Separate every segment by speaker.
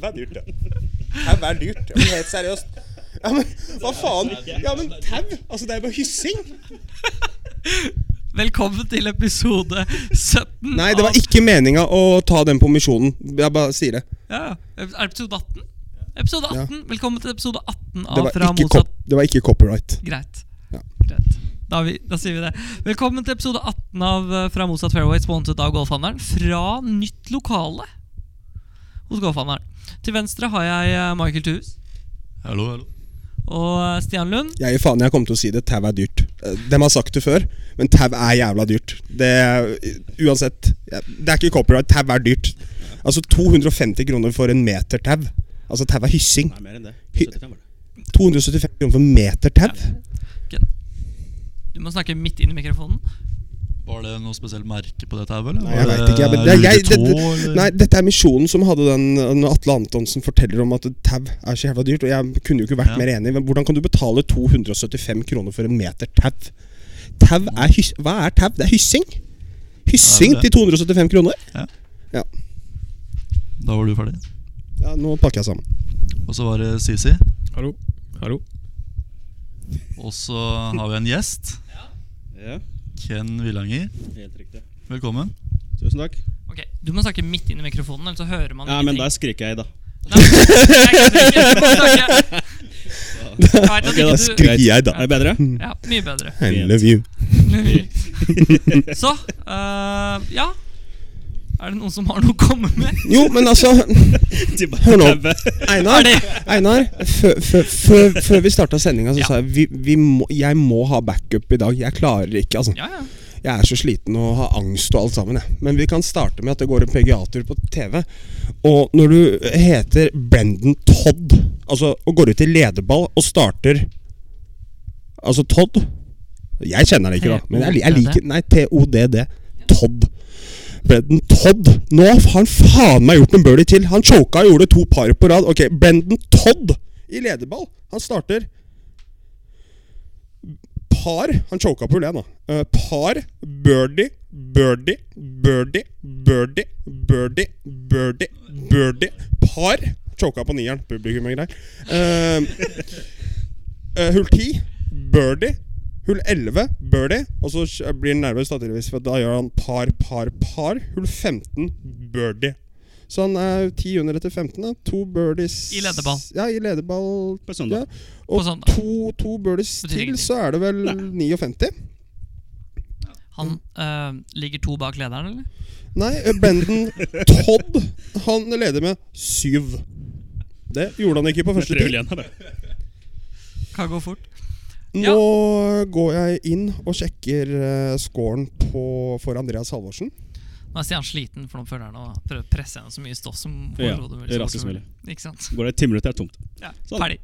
Speaker 1: Tau er dyrt, ja. Tau er dyrt. Ja, men helt seriøst. Ja, men hva faen? Ja, men tau! Altså, det er jo bare hyssing.
Speaker 2: Velkommen til episode 17
Speaker 1: Nei, det var ikke meninga å ta den på misjonen. Jeg bare sier det.
Speaker 2: av ja, Er det episode 18? Episode 18, Velkommen til episode 18 av
Speaker 1: Det var
Speaker 2: Fra
Speaker 1: ikke,
Speaker 2: motsatt
Speaker 1: cop det var ikke copyright.
Speaker 2: Greit.
Speaker 1: Ja.
Speaker 2: Greit. Da, er vi, da sier vi det. Velkommen til episode 18 av eh, Fra motsatt fairway, sponset av Golfhandleren. Fra nytt lokale hos Golfhandleren. Til venstre har jeg eh, Michael Thues
Speaker 3: Hallo, hallo.
Speaker 2: og eh, Stian Lund.
Speaker 1: Jeg gir faen, jeg kommer til å si det. Tau er dyrt. Eh, De har sagt det før, men tau er jævla dyrt. Det Uansett. ja, Det er ikke copyright. Tau er dyrt. Altså 250 kroner for en meter tau. Altså tau er hyssing.
Speaker 4: Nei, mer enn det.
Speaker 1: Hy-
Speaker 4: 75 var det.
Speaker 1: 275 kroner for en meter tau?
Speaker 2: Du må snakke midt inn i mikrofonen.
Speaker 3: Var det noe spesielt merke på det tauet? eller?
Speaker 1: Nei,
Speaker 3: Var
Speaker 1: jeg
Speaker 3: det
Speaker 1: vet ikke. Jeg, men, jeg, jeg, det,
Speaker 3: Rute tå,
Speaker 1: det,
Speaker 3: Eh, eller?
Speaker 1: nei, dette er Misjonen som hadde den når Atle Antonsen forteller om at tau er så jævla dyrt. Og jeg kunne jo ikke vært
Speaker 3: Ja.
Speaker 1: mer enig. Men Hvordan kan du betale 275 kroner for en meter tau? Tau er hys Hva er tau? Det er hyssing! Hyssing
Speaker 3: Ja, det
Speaker 1: til 275 kroner?
Speaker 3: Da var du ferdig.
Speaker 1: Ja, Nå pakker jeg sammen.
Speaker 3: Og så var det Sisi.
Speaker 5: Hallo. Hallo.
Speaker 3: Og så har vi en gjest.
Speaker 4: Ja,
Speaker 3: Ken Villanger.
Speaker 4: helt riktig.
Speaker 3: Velkommen.
Speaker 4: Tusen takk.
Speaker 2: Ok, Du må snakke midt inn i mikrofonen, ellers så hører man
Speaker 4: Ja, men der skriker jeg, da.
Speaker 2: Nei, jeg kan ikke, du må snakke. Jeg vet at
Speaker 4: Ok, da
Speaker 2: ikke du
Speaker 4: skru-
Speaker 1: Skriker jeg, da.
Speaker 4: Er det bedre?
Speaker 2: Ja, mye bedre.
Speaker 1: I love you.
Speaker 2: Så eh, ja. Er det noen som har noe å komme med?
Speaker 1: Jo, men altså
Speaker 4: De bare-
Speaker 1: Hør nå.
Speaker 4: Tau.
Speaker 1: Einar,
Speaker 2: Er det?
Speaker 1: Einar før, før, før, før vi starta sendinga, så
Speaker 2: Ja.
Speaker 1: sa jeg vi, vi må, jeg må ha backup i dag. Jeg klarer ikke, altså.
Speaker 2: Ja, ja.
Speaker 1: Jeg er så sliten og har angst og alt sammen. Jeg. Men vi kan starte med at det går en PGA-tur på TV. Og når du heter Brendan Todd, altså og går ut i lederball og starter Altså Todd Jeg kjenner det ikke, da. Men jeg, li- jeg liker Nei, T-O-D-D. Todd. Brendan Todd. Nå har han faen meg gjort en birdie til. Han choka og gjorde to par på rad. Ok, Brendan Todd i lederball. Han starter par Han choka på hull én, da. Eh, par, birdie, birdie, birdie, birdie, birdie, birdie, birdie, par. Choka på nieren. Publikum og greier. Eh, eh, hull ti, birdie. Hull 11, birdie. Og så sj- blir han nervøs, da, tydeligvis, for da gjør han par, par, par. Hull 15, birdie. Så han er ti under etter 15. Da. To birdies
Speaker 2: I lederball.
Speaker 1: Ja, i lederball
Speaker 4: På søndag.
Speaker 1: Ja. Og
Speaker 2: På søndag.
Speaker 1: to, to birdies
Speaker 2: Betyr
Speaker 1: til,
Speaker 2: ingenting.
Speaker 1: så er det vel 59.
Speaker 2: Han eh, ligger to bak lederen, eller?
Speaker 1: Nei, eh, Brendan Todd Han leder med syv. Det gjorde han ikke på
Speaker 4: Med
Speaker 1: første
Speaker 4: tre hull
Speaker 1: tid.
Speaker 4: igjen her, da.
Speaker 2: Kan gå fort. ja.
Speaker 1: Nå går jeg inn og sjekker eh, scoren på, for Andreas Halvorsen.
Speaker 2: Nå er Stian sliten, for nå føler han å prøve å presse gjennom så mye stoff som
Speaker 4: Ja,
Speaker 2: overhodet mulig, så fort
Speaker 4: raskest
Speaker 2: som mulig. Ikke sant?
Speaker 4: Går det et timeminuttet, er det tomt.
Speaker 2: Ja,
Speaker 4: Sånn.
Speaker 2: Ferdig.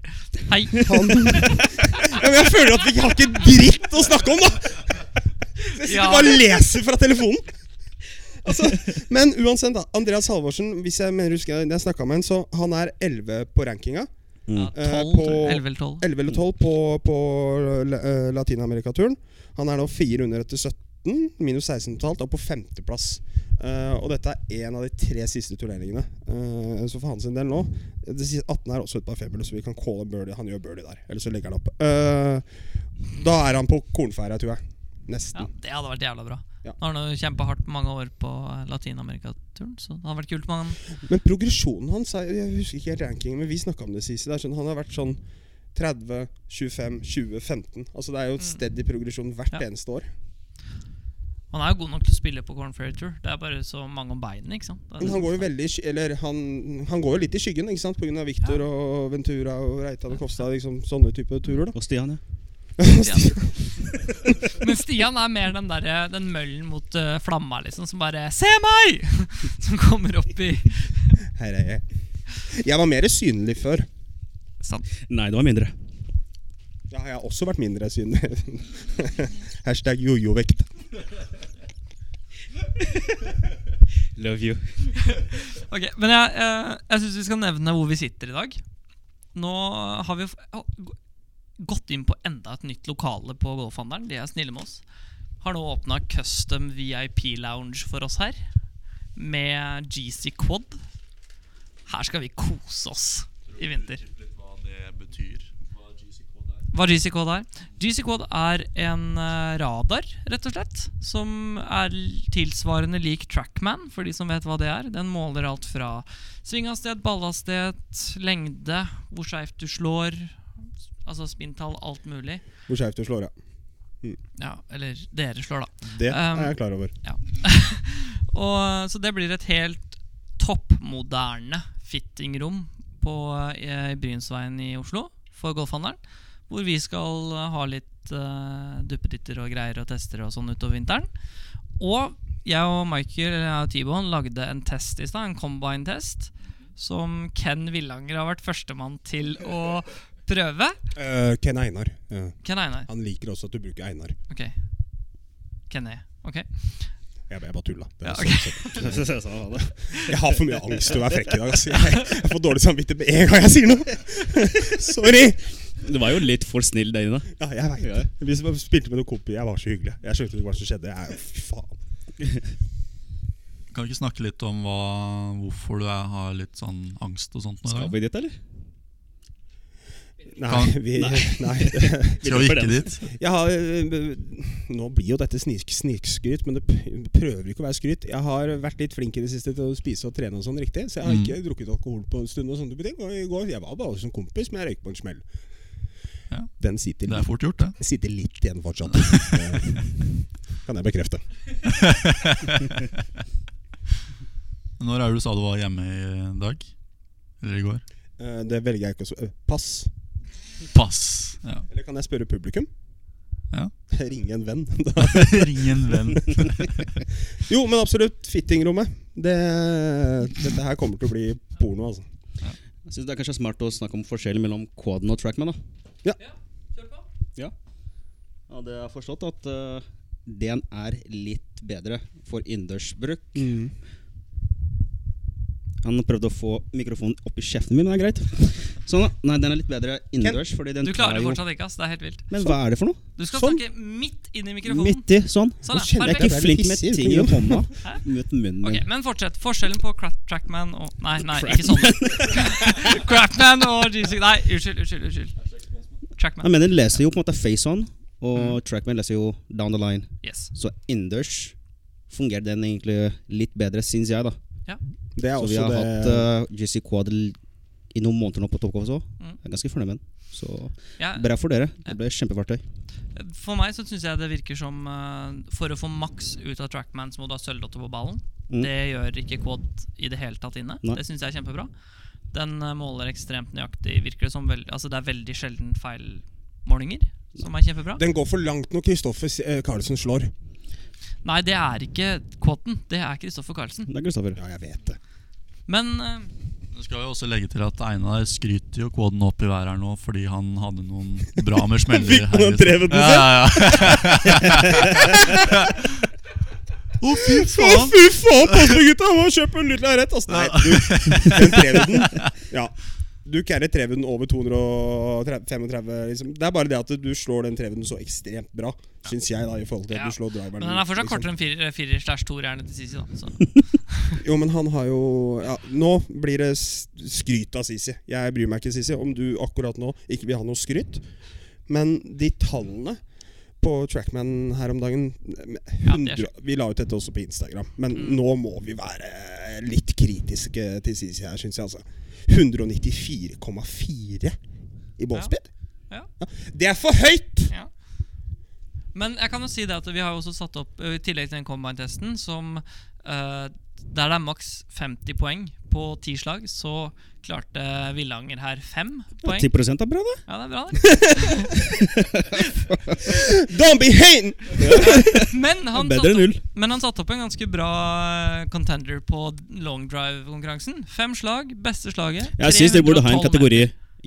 Speaker 2: Hei.
Speaker 1: Han ja, men Jeg føler at vi ikke har ikke dritt å snakke om, da! Jeg sitter
Speaker 2: Ja.
Speaker 1: bare og leser fra telefonen. Altså, men uansett, da. Andreas Halvorsen, hvis jeg mener husker jeg, jeg snakket med han, så han er 11 på rankinga.
Speaker 2: Ja,
Speaker 1: Eh,
Speaker 2: 12,
Speaker 1: på-
Speaker 2: 11 eller 12.
Speaker 1: 11 eller 12 på, på eh, Latin-Amerika-turen. Han er nå 400 etter 17, minus 16 totalt, og på femteplass. Eh, og dette er en av de tre siste turneringene. Eh, så for hans del nå Det siste 18 er også et par femmere, så vi kan calle birdie. Han gjør birdie der. Eller så legger han opp. Eh, da er han på kornferja, tror jeg.
Speaker 2: Ja,
Speaker 1: Nesten.
Speaker 2: det hadde vært jævla bra.
Speaker 1: Mm. Ja.
Speaker 2: Nå har han jo kjempa hardt mange år på eh, Latin-Amerika-turen, så det hadde vært kult med han.
Speaker 1: Men progresjonen hans er- Jeg husker ikke helt rankingen, men vi snakka om det, Sisi. Det er sånn, han har vært sånn 30, 25, 20, 15. Altså Det er jo et steady progresjon hvert
Speaker 2: Mm. Ja.
Speaker 1: eneste år.
Speaker 2: Han er jo god nok til å spille på Corn Ferry Tour. Det er bare så mange om beinene, ikke sant. Det
Speaker 1: Men
Speaker 2: er
Speaker 1: han
Speaker 2: liksom-
Speaker 1: går jo veldig i sky- Eller han, han går jo litt i skyggen, ikke sant? Pga. Victor og Ventura og Reitan og Kofstad. Liksom, sånne type turer, da.
Speaker 4: Og Stian, ja.
Speaker 2: Stian. Men Stian er mer den der, den møllen mot eh, flamma, liksom, som bare 'Se meg!' som kommer opp i
Speaker 1: Her er jeg. Jeg var mer synlig før.
Speaker 2: Sant.
Speaker 4: Nei, det var mindre.
Speaker 1: Ja, jeg har også vært mindre synlig. Hashtag jojo-vekt.
Speaker 4: Love you.
Speaker 2: Ok, Men jeg, uh, jeg syns vi skal nevne hvor vi sitter i dag. Nå har vi f- å, gå- gått inn på enda et nytt lokale på Golfhandelen. De er snille med oss. Har nå åpna custom VIP lounge for oss her. Med GC Quad. Her skal vi kose oss i vinter.
Speaker 3: litt hva det betyr. Hva GC Code er.
Speaker 2: Hva GC Code er? GC Code er en eh, radar, rett og slett, som er l- tilsvarende lik Trackman, for de som vet hva det er. Den måler alt fra svinghastighet, ballhastighet, lengde, hvor skeivt du slår, s- altså spinntall, alt mulig.
Speaker 1: Hvor skeivt du slår, ja.
Speaker 2: Ja, eller dere slår, da.
Speaker 1: Det
Speaker 2: Um,
Speaker 1: er jeg klar over.
Speaker 2: Og, så det blir et helt toppmoderne fittingrom på eh, i Brynsveien i Oslo for golfhandelen. Hvor vi skal eh, ha litt eh, duppeditter og greier og tester og sånn utover vinteren. Og jeg og Michael eller jeg og T-Bone lagde en test i stad, en combine-test. Som Ken Villanger har vært førstemann til å prøve.
Speaker 1: Eh, Ken Einar. Ja.
Speaker 2: Ken Einar.
Speaker 1: Han liker også at du bruker Einar.
Speaker 2: Ok. Kenny. Ok.
Speaker 1: Jeg, jeg bare tulla. Det er
Speaker 2: Ja,
Speaker 1: så-
Speaker 2: ok.
Speaker 4: Så sa jeg sånn, det.
Speaker 1: Jeg har for mye angst til å være frekk i dag. ass. Jeg, jeg får dårlig samvittighet med en gang jeg sier noe. Sorry!
Speaker 4: Du var jo litt for snill der inne.
Speaker 1: Ja, jeg vet
Speaker 4: Ja.
Speaker 1: det. Vi som spilte med noen kompiser. Jeg var så hyggelig. Jeg skjønte ikke hva som skjedde. Jeg, fy faen.
Speaker 3: Kan vi ikke snakke litt om hva, hvorfor du er, har litt sånn angst og sånt? nå i
Speaker 4: Skal
Speaker 3: dag?
Speaker 4: vi dit, eller?
Speaker 1: Nei,
Speaker 3: Kan-
Speaker 1: vi,
Speaker 4: Nei.
Speaker 1: nei.
Speaker 3: Skal vi
Speaker 4: for
Speaker 3: ikke
Speaker 4: den.
Speaker 3: dit?
Speaker 1: Jeg har, øh, nå blir jo dette snik, snikskryt, men det p- prøver ikke å være skryt. Jeg har vært litt flink i det siste til å spise og trene og sånn riktig, så jeg har
Speaker 3: Mm.
Speaker 1: ikke drukket alkohol på en stund. og sånne type ting. Og i går, Jeg var bare som kompis, men jeg røyk på en smell.
Speaker 3: Ja.
Speaker 1: Den sitter
Speaker 3: Det
Speaker 1: litt,
Speaker 3: er fort gjort, det.
Speaker 1: sitter litt igjen fortsatt. Det kan jeg bekrefte.
Speaker 3: Når er det du sa du var hjemme i dag? Eller i går?
Speaker 1: Eh, Det velger jeg ikke å s- øh, Pass.
Speaker 3: Pass! Ja.
Speaker 1: Eller kan jeg spørre publikum?
Speaker 3: Ja.
Speaker 1: Ringe en venn. Da
Speaker 3: Ring en venn.
Speaker 1: Jo, men absolutt. Fittingrommet. Det, dette her kommer til å bli porno, altså.
Speaker 4: Jeg synes det er kanskje smart å snakke om forskjellen mellom Quaden og Trackman. da. Ja, det er forstått at eh, den er litt bedre for innendørsbruk. Han prøvde å få mikrofonen opp i kjeften min, men det er greit. Sånn, da. Nei, den er litt bedre innendørs. fordi den
Speaker 2: Du klarer
Speaker 4: tar
Speaker 2: det
Speaker 4: jo...
Speaker 2: fortsatt ikke, ass. Det er helt vilt.
Speaker 4: Men hva er det for noe?
Speaker 2: Du skal
Speaker 1: Sånn.
Speaker 2: snakke midt inn i mikrofonen.
Speaker 4: Midt i, sånn.
Speaker 1: Nå
Speaker 2: Sånn, ja.
Speaker 1: kjenner jeg
Speaker 2: Perfekt.
Speaker 4: Jeg er ikke flink med
Speaker 1: Hissig,
Speaker 4: ting i
Speaker 1: ikke
Speaker 4: hånda.
Speaker 2: Hæ?
Speaker 4: Mot munnen
Speaker 2: Ok,
Speaker 4: min.
Speaker 2: Men fortsett. Forskjellen på cra Trackman og Nei, nei, ikke sånn. Crapman og GC Nei, unnskyld, unnskyld. unnskyld
Speaker 4: Jeg
Speaker 2: Trackman.
Speaker 4: mener, den leser jo på en måte face on, og
Speaker 2: Mm.
Speaker 4: Trackman leser jo down the line.
Speaker 2: Yes.
Speaker 4: Så innendørs fungerer den egentlig litt bedre, syns jeg, da.
Speaker 1: Det er
Speaker 4: Så
Speaker 1: også
Speaker 4: vi har
Speaker 1: det
Speaker 4: hatt eh, GC Quad l- i noen måneder nå på toppkås òg.
Speaker 2: Mm.
Speaker 4: Jeg er ganske fornøyd med den. Så
Speaker 2: Ja,
Speaker 4: bra for dere. Det ble kjempefartøy.
Speaker 2: for meg så syns jeg det virker som eh, For å få maks ut av Trackman, så må du ha sølvdotter på ballen.
Speaker 4: Mm.
Speaker 2: Det gjør ikke Quad i det hele tatt inne.
Speaker 4: Nei.
Speaker 2: Det syns jeg er kjempebra. Den eh, måler ekstremt nøyaktig. Virker det som vel- Altså Det er veldig sjelden feilmålinger, som er kjempebra.
Speaker 1: Den går for langt når Kristoffer S- eh, Carlsen slår.
Speaker 2: Nei, det er ikke Quaden. Det er Kristoffer Carlsen.
Speaker 4: Det er Kristoffer.
Speaker 1: Ja, jeg vet det.
Speaker 2: Men eh,
Speaker 3: Jeg skal jo også legge til at Einar skryter jo koden opp i været her nå fordi han hadde noen bra med smeller.
Speaker 1: Fikk
Speaker 3: her i
Speaker 1: noen drevet med
Speaker 3: sted. Ja, ja, ja. Å, fy
Speaker 1: Å,
Speaker 3: faen!
Speaker 1: fy faen, pass på gutta! Må kjøpe en liten lerret! Altså, nei, du. Den trevuden. Ja. Du carrier trevuden over 235, liksom. Det er bare det at du slår den trevuden så ekstremt bra, syns jeg, da, i forhold til at
Speaker 2: Ja.
Speaker 1: du slår driveren.
Speaker 2: Men den er fortsatt
Speaker 1: liksom.
Speaker 2: kortere enn firer- firer slash toerne til Sisi, da. Så.
Speaker 1: Jo, men han har jo ja, Nå blir det s- skryt av Sisi. Jeg bryr meg ikke, Sisi, om du akkurat nå ikke vil ha noe skryt. Men de tallene på Trackman her om dagen
Speaker 2: Ja, det er Mm.
Speaker 1: 100, Vi la ut dette også på Instagram, men nå må vi være litt kritiske til Sisi her, syns jeg. altså 194,4 i ballspeed?
Speaker 2: Ja. Ja.
Speaker 1: Det er for høyt!
Speaker 2: Ja. Men jeg kan jo si det at vi har jo også satt opp, ø, i tillegg til den combine-testen, som eh, der det er maks 50 poeng på ti slag, så klarte Villanger her fem poeng.
Speaker 4: 10 er bra, det.
Speaker 2: Ja, det er bra, det.
Speaker 1: Don't be hating!
Speaker 2: Men han, satt
Speaker 4: Bedre enn
Speaker 2: opp,
Speaker 4: null.
Speaker 2: men han satte opp en ganske bra eh, contender på long drive-konkurransen. Fem slag, beste slaget.
Speaker 4: Jeg syns dere burde ha en
Speaker 2: 312
Speaker 4: kategori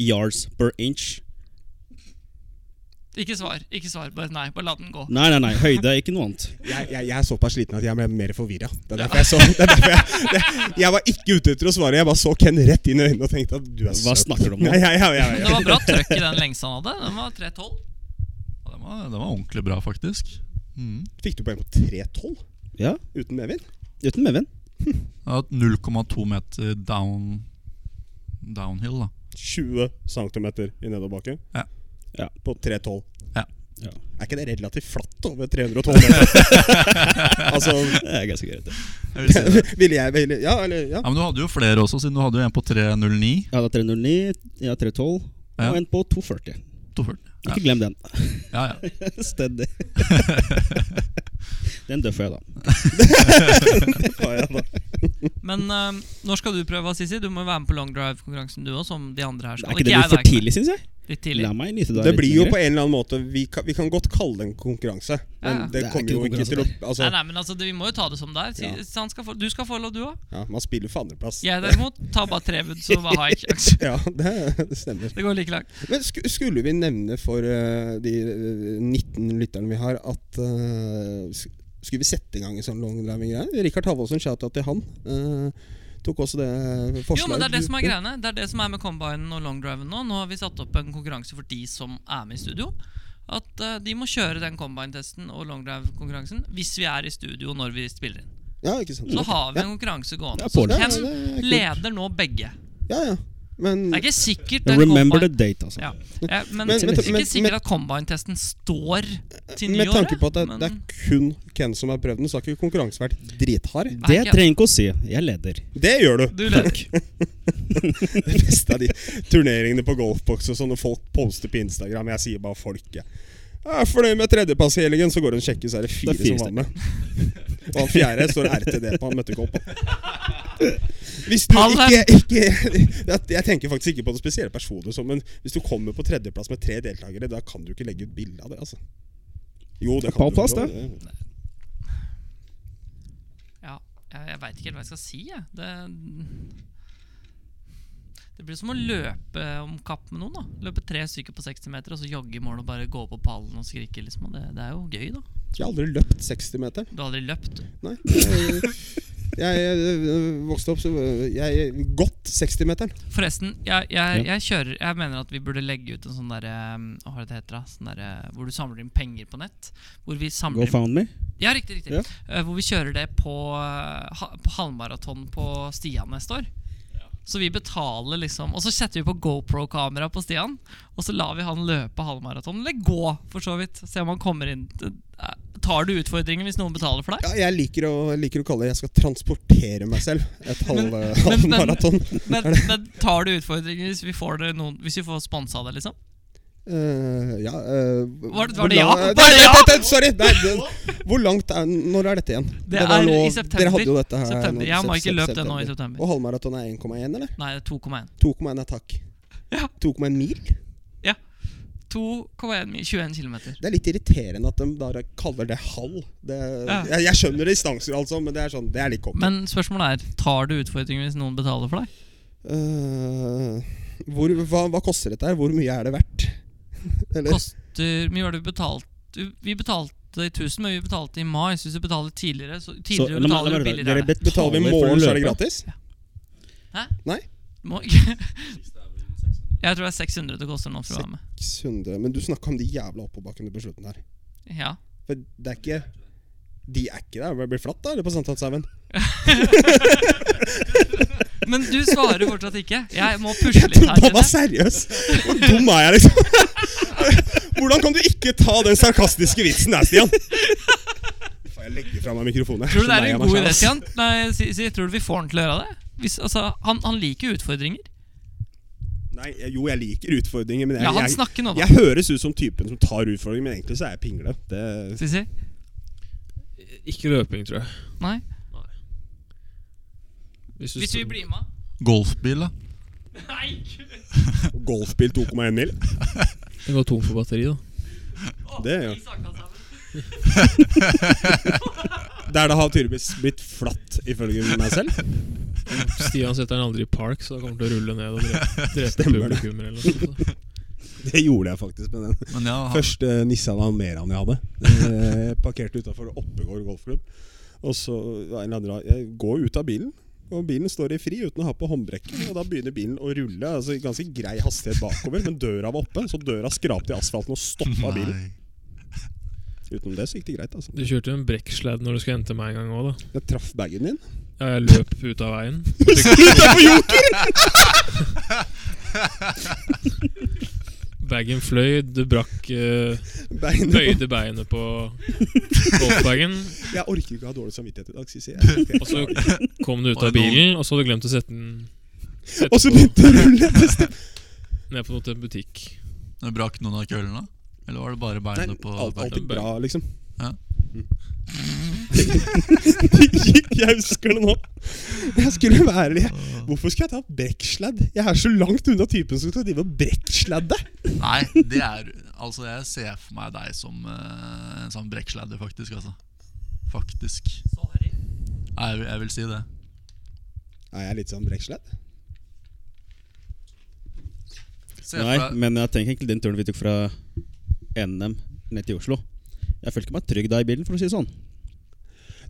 Speaker 4: yards per inch.
Speaker 2: meter. Ikke svar. Ikke svar. Bare nei, bare la den gå.
Speaker 4: Nei, nei, nei. Høyde er ikke noe annet.
Speaker 1: Jeg, jeg, jeg er såpass sliten at jeg ble mer forvirra. Det er derfor jeg så det er derfor jeg, det, jeg var ikke ute etter å svare, jeg bare så Ken rett inn i øynene og tenkte at du er
Speaker 4: Hva
Speaker 1: søt.
Speaker 4: snakker du om nå?
Speaker 1: Nei, ja, ja, ja,
Speaker 2: Det
Speaker 1: ja.
Speaker 2: var bra trøkk i den lengsa han hadde. Den var 3,12.
Speaker 3: Ja, Den var, den var ordentlig bra, faktisk. Mm.
Speaker 1: Fikk du poeng på 3-12
Speaker 4: Ja,
Speaker 1: uten medvind?
Speaker 4: Uten medvind.
Speaker 3: Jeg har hatt 0,2 meter down downhill, da.
Speaker 1: 20 cm i nedoverbakke.
Speaker 3: Ja.
Speaker 1: Ja, på 3,12.
Speaker 3: Ja.
Speaker 4: Ja.
Speaker 1: Er ikke det relativt flatt over 312 meter? altså,
Speaker 4: Det er ganske greit, det.
Speaker 3: Jeg vil si det.
Speaker 1: ville jeg ville, Ja, eller ja.
Speaker 3: Ja, men du hadde jo flere også, siden du hadde jo en på 3.09.
Speaker 4: Jeg hadde 309, jeg hadde 312
Speaker 3: Ja.
Speaker 4: og en på 240.
Speaker 3: Ja,
Speaker 4: Ikke glem den.
Speaker 3: ja, ja.
Speaker 4: Steady. den døffer jeg, da.
Speaker 1: Ja, ja, da.
Speaker 2: Men eh, når skal du prøve, Sissi? Du må jo være med på long drive-konkurransen du òg, som de andre her
Speaker 4: Er
Speaker 2: skal.
Speaker 4: ikke det
Speaker 2: jeg,
Speaker 4: litt
Speaker 2: da,
Speaker 4: for tidlig, syns jeg?
Speaker 2: Litt tidlig.
Speaker 4: La meg nyte det.
Speaker 1: Det
Speaker 4: litt
Speaker 1: blir jo
Speaker 4: lenger.
Speaker 1: på en eller annen måte Vi kan, vi kan godt kalle det en konkurranse, men
Speaker 2: Ja, ja.
Speaker 1: det
Speaker 4: Det er
Speaker 1: kommer
Speaker 4: ikke
Speaker 1: jo
Speaker 4: noen
Speaker 1: ikke til å altså,
Speaker 2: Nei, nei, men altså, det, Vi må jo ta det som det er. Si-
Speaker 1: Ja.
Speaker 2: så han skal få, du skal få lov, du òg.
Speaker 1: ja, Man spiller for andreplass.
Speaker 2: Jeg derimot tar bare trebud, så hva har jeg ikke sjanse?
Speaker 1: Ja, det, det stemmer.
Speaker 2: Det går like langt.
Speaker 1: Men sku, skulle vi nevne for eh, de eh, 19 lytterne vi har, at eh, sk- Skulle vi sette i gang en sånn longliving-greie? Rikard Halvorsen, shout-out til han. eh, tok også det forslaget.
Speaker 2: Jo, men Det er det som er
Speaker 1: Du-
Speaker 2: greiene Det er det som er med combinen og longdriven nå. Nå har vi satt opp en konkurranse for de som er med i studio. At eh, de må kjøre den combine-testen og longdrive-konkurransen hvis vi er i studio når vi spiller inn.
Speaker 1: Ja, ikke sant.
Speaker 2: Så har vi en konkurranse gående.
Speaker 4: Ja,
Speaker 2: Så
Speaker 4: Pål.
Speaker 1: Ja,
Speaker 2: hvem
Speaker 1: det er kult.
Speaker 2: leder nå begge?
Speaker 1: Ja, ja. Men
Speaker 2: Det er ikke sikkert den
Speaker 4: Remember the
Speaker 2: combine-
Speaker 4: date, altså.
Speaker 2: ja. Ja, men,
Speaker 1: Men-
Speaker 2: det er
Speaker 1: men-
Speaker 2: ikke sikkert at combine-testen står til
Speaker 1: med
Speaker 2: nyåret.
Speaker 1: tanke på at det,
Speaker 2: men-
Speaker 1: det er kun Ken som har prøvd den, så har ikke konkurransen vært drithard.
Speaker 4: Det
Speaker 2: ikke-
Speaker 4: trenger ikke å si. Jeg leder.
Speaker 1: Det gjør du!
Speaker 2: du leder.
Speaker 1: Det beste er de turneringene på golfboks og sånn, og folk poster på Instagram. Jeg sier bare folk, jeg. Jeg er fornøyd med tredjeplass i helgen, så går det en sjekke, så er det fire,
Speaker 4: Det er fire
Speaker 1: som var med. Og han fjerde står RTD på, han møtte ikke opp. Hvis du
Speaker 2: Alle-
Speaker 1: ikke, ikke jeg, jeg tenker faktisk ikke på noen spesielle personer, så, men hvis du kommer på tredjeplass med tre deltakere, da kan du ikke legge ut bilde av det, altså. Jo, det kan du.
Speaker 4: Pallplass,
Speaker 1: jo.
Speaker 2: Ja, jeg, jeg veit ikke helt hva jeg skal si, jeg. Det, det blir som å løpe om kapp med noen. da Løpe tre stykker på 60 meter og så jogge i mål og bare gå på pallen og skrike. liksom og det, det er jo gøy, da.
Speaker 1: Jeg har aldri løpt 60-meteren.
Speaker 2: Du har aldri løpt.
Speaker 1: Nei. Jeg, jeg, øh, vokste opp så øh, jeg Godt 60-meteren.
Speaker 2: Forresten, jeg, jeg,
Speaker 4: Ja.
Speaker 2: jeg kjører Jeg mener at vi burde legge ut en sånn derre Hva er det det heter da? Sånn derre Hvor du samler inn penger på nett. Hvor vi
Speaker 4: Go
Speaker 2: samler inn
Speaker 4: found me.
Speaker 2: Ja, riktig, riktig.
Speaker 4: Ja.
Speaker 2: Eh, hvor vi kjører det på, eh, ha, på halvmaraton på Stian neste år. Så vi betaler liksom Og så setter vi på GoPro-kamera på Stian. Og så lar vi han løpe halvmaraton. Eller gå, for så vidt. Se om han kommer inn. Eh, Tar du utfordringen hvis noen betaler for deg?
Speaker 1: Ja, jeg liker å, liker å kalle det 'jeg skal transportere meg selv' et halv- halvmaraton.
Speaker 2: Men, men tar du utfordringen hvis vi får, det noen, hvis vi får sponsa det, liksom?
Speaker 1: Eh, ja eh,
Speaker 2: Var
Speaker 1: hvor
Speaker 2: det- var det
Speaker 1: lang-
Speaker 2: ja?
Speaker 1: Nei,
Speaker 2: Var det ja?
Speaker 1: nei, nei, Sorry! Nei, det, hvor langt er Når er dette igjen?
Speaker 2: Det
Speaker 1: var
Speaker 2: er i
Speaker 1: nå-
Speaker 2: september.
Speaker 1: Dere hadde jo dette her
Speaker 2: September.
Speaker 1: nå,
Speaker 2: Jeg har
Speaker 1: sep-
Speaker 2: ikke
Speaker 1: sep-
Speaker 2: løpt det nå i september.
Speaker 1: Og halvmaraton er 1,1, eller?
Speaker 2: Nei, det er 2,1.
Speaker 1: 2,1 er takk.
Speaker 2: Ja.
Speaker 1: 2,1 mil?
Speaker 2: 2,1 mi- 21 km.
Speaker 1: Det er litt irriterende at de da kaller det halv. Det,
Speaker 2: Ja.
Speaker 1: jeg, jeg skjønner distanser, altså, men det er sånn Det er litt cocky.
Speaker 2: Men spørsmålet er, tar du utfordringen hvis noen betaler for deg?
Speaker 1: Eh, hvor, hva, hva koster dette her? Hvor mye er det verdt? Eller?
Speaker 2: koster Mye var det vi betalte Vi betalte i 1000, men vi betalte i mai. Så hvis du betaler tidligere, så tidligere
Speaker 4: la meg- la
Speaker 2: betaler du
Speaker 4: meg- dere
Speaker 2: billigere. er det.
Speaker 4: bet-
Speaker 1: Betaler vi i
Speaker 4: for
Speaker 1: morgen,
Speaker 4: å
Speaker 1: så er det
Speaker 4: løpe.
Speaker 1: gratis?
Speaker 2: Må ikke Jeg tror det er 600 det koster nå for å være med.
Speaker 1: 600 Men du snakka om de jævla oppoverbakkene på slutten her.
Speaker 2: Ja.
Speaker 1: For det er ikke De er ikke der. Det blir flatt, da, eller på Sankthanshaugen?
Speaker 2: Men du svarer fortsatt ikke. Jeg må pushe
Speaker 1: Jeg
Speaker 2: litt
Speaker 1: trodde
Speaker 2: her.
Speaker 1: han var
Speaker 2: Kjenne.
Speaker 1: seriøs! Hvor dum er jeg, liksom? Hvordan kan du ikke ta den sarkastiske vitsen der, Stian? Får jeg legge fra meg mikrofonen?
Speaker 2: Tror du det er en god idé,
Speaker 1: Stian?
Speaker 2: Stian? Nei, si, si, tror du vi får han til å gjøre det? Hvis, altså, han, han liker jo utfordringer.
Speaker 1: Nei, jeg- jo, jeg liker utfordringer, men jeg,
Speaker 2: Ja, han
Speaker 1: jeg,
Speaker 2: snakker nå, da.
Speaker 1: jeg høres ut som typen som tar utfordringer, men egentlig så er jeg pingle. Det
Speaker 2: Sissi?
Speaker 5: Ikke løping, tror jeg.
Speaker 2: Nei?
Speaker 5: Hvis du
Speaker 2: Hvis
Speaker 5: står-
Speaker 2: vi blir med?
Speaker 3: Golfbil, da.
Speaker 2: Nei!
Speaker 1: Golfbil 2,1 mil.
Speaker 5: Det går tom for batteri, da.
Speaker 1: Det, ja. Der det har tydeligvis blitt flatt, ifølge meg selv.
Speaker 5: Stian setter den aldri i park, så det kommer til å rulle ned og drepe, drepe
Speaker 1: Stemmer det.
Speaker 5: publikummer eller noe sånt. da.
Speaker 1: Det gjorde jeg faktisk med den
Speaker 3: Men ja,
Speaker 5: Ah.
Speaker 3: han-
Speaker 1: første Nissan Almeraen jeg hadde. Eh, parkerte utafor Oppegård golfklubb. Og så var en eller annen rar- Jeg går ut av bilen, og bilen står i fri uten å ha på håndbrekket. Og da begynner bilen å rulle altså i ganske grei hastighet bakover, men døra var oppe. Så døra skrapte i asfalten og stoppa bilen.
Speaker 3: Nei.
Speaker 1: Utenom det så gikk det greit. altså
Speaker 5: Du kjørte jo en brekksledd når du skulle hente meg en gang òg, da.
Speaker 1: Jeg traff bagen din.
Speaker 5: Ja, jeg løp ut av veien.
Speaker 1: Utafor joker!
Speaker 5: Bagen fløy, det brakk eh,
Speaker 1: Beinet.
Speaker 5: Bøyde beinet på Volkswagen.
Speaker 1: Jeg orker ikke å ha dårlig samvittighet i dag, Sissi. Jeg-
Speaker 5: Og så kom du ut av bilen, og så hadde du glemt å sette den sette
Speaker 1: Og så
Speaker 5: på-
Speaker 1: begynte det å rulle etter stemmen.
Speaker 5: ned på en butikk.
Speaker 3: Men Brakk noen av køllene? Eller var det bare
Speaker 1: Nei,
Speaker 3: beinet på
Speaker 1: alt, alt gikk bra, liksom.
Speaker 3: Ja.
Speaker 1: Mm. Det gikk, jeg husker det nå. Jeg skulle være litt Hvorfor skal jeg ta brekksladd? Jeg er så langt unna typen som skal drive og brekksladde.
Speaker 3: Nei, det er Altså, jeg ser for meg deg som eh, en sånn brekksladder, faktisk. Altså. Faktisk.
Speaker 2: Sorry.
Speaker 3: Nei, jeg, vil- jeg vil si det.
Speaker 1: Er jeg litt sånn brekksladd?
Speaker 3: Se
Speaker 4: Nei,
Speaker 3: for deg
Speaker 4: men jeg tenker egentlig den turen vi tok fra NM ned til Oslo Jeg følte meg trygg da i bilen, for å si det sånn.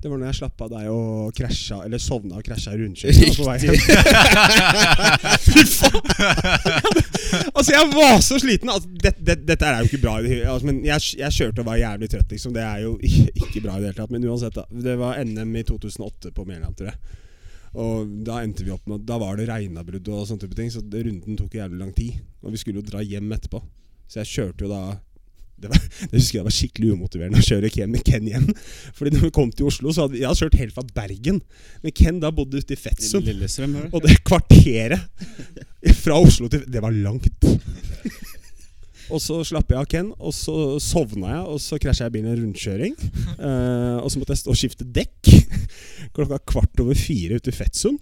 Speaker 1: Det var når jeg slapp av deg og krasja Eller sovna og krasja i rundkjøringen på vei hjem. Fy faen! altså, jeg var så sliten. Altså, det, det, dette er jo ikke bra. i det hele- Altså, men jeg, jeg kjørte og var jævlig trøtt, liksom. Det er jo ikke, ikke bra i det hele tatt. Men uansett, da. Det var NM i 2008 på Mæland, tror jeg. Og da endte vi opp med Da var det regnavbrudd og sånne type ting, så det- runden tok jævlig lang tid. Og vi skulle jo dra hjem etterpå. Så jeg kjørte jo da det, var, det husker jeg var skikkelig umotiverende å kjøre Ken med Ken hjem. Fordi når vi kom til Oslo, så hadde jeg hadde kjørt helt fra Bergen. Men Ken da bodde ute i Fetsund.
Speaker 4: Lillestrøm,
Speaker 1: Og det kvarteret fra Oslo til Det var langt. Og så slapp jeg av Ken, og så sovna jeg, og så krasja jeg bilen i en rundkjøring. Eh, og så måtte jeg stå og skifte dekk klokka kvart over fire ute i Fettsund.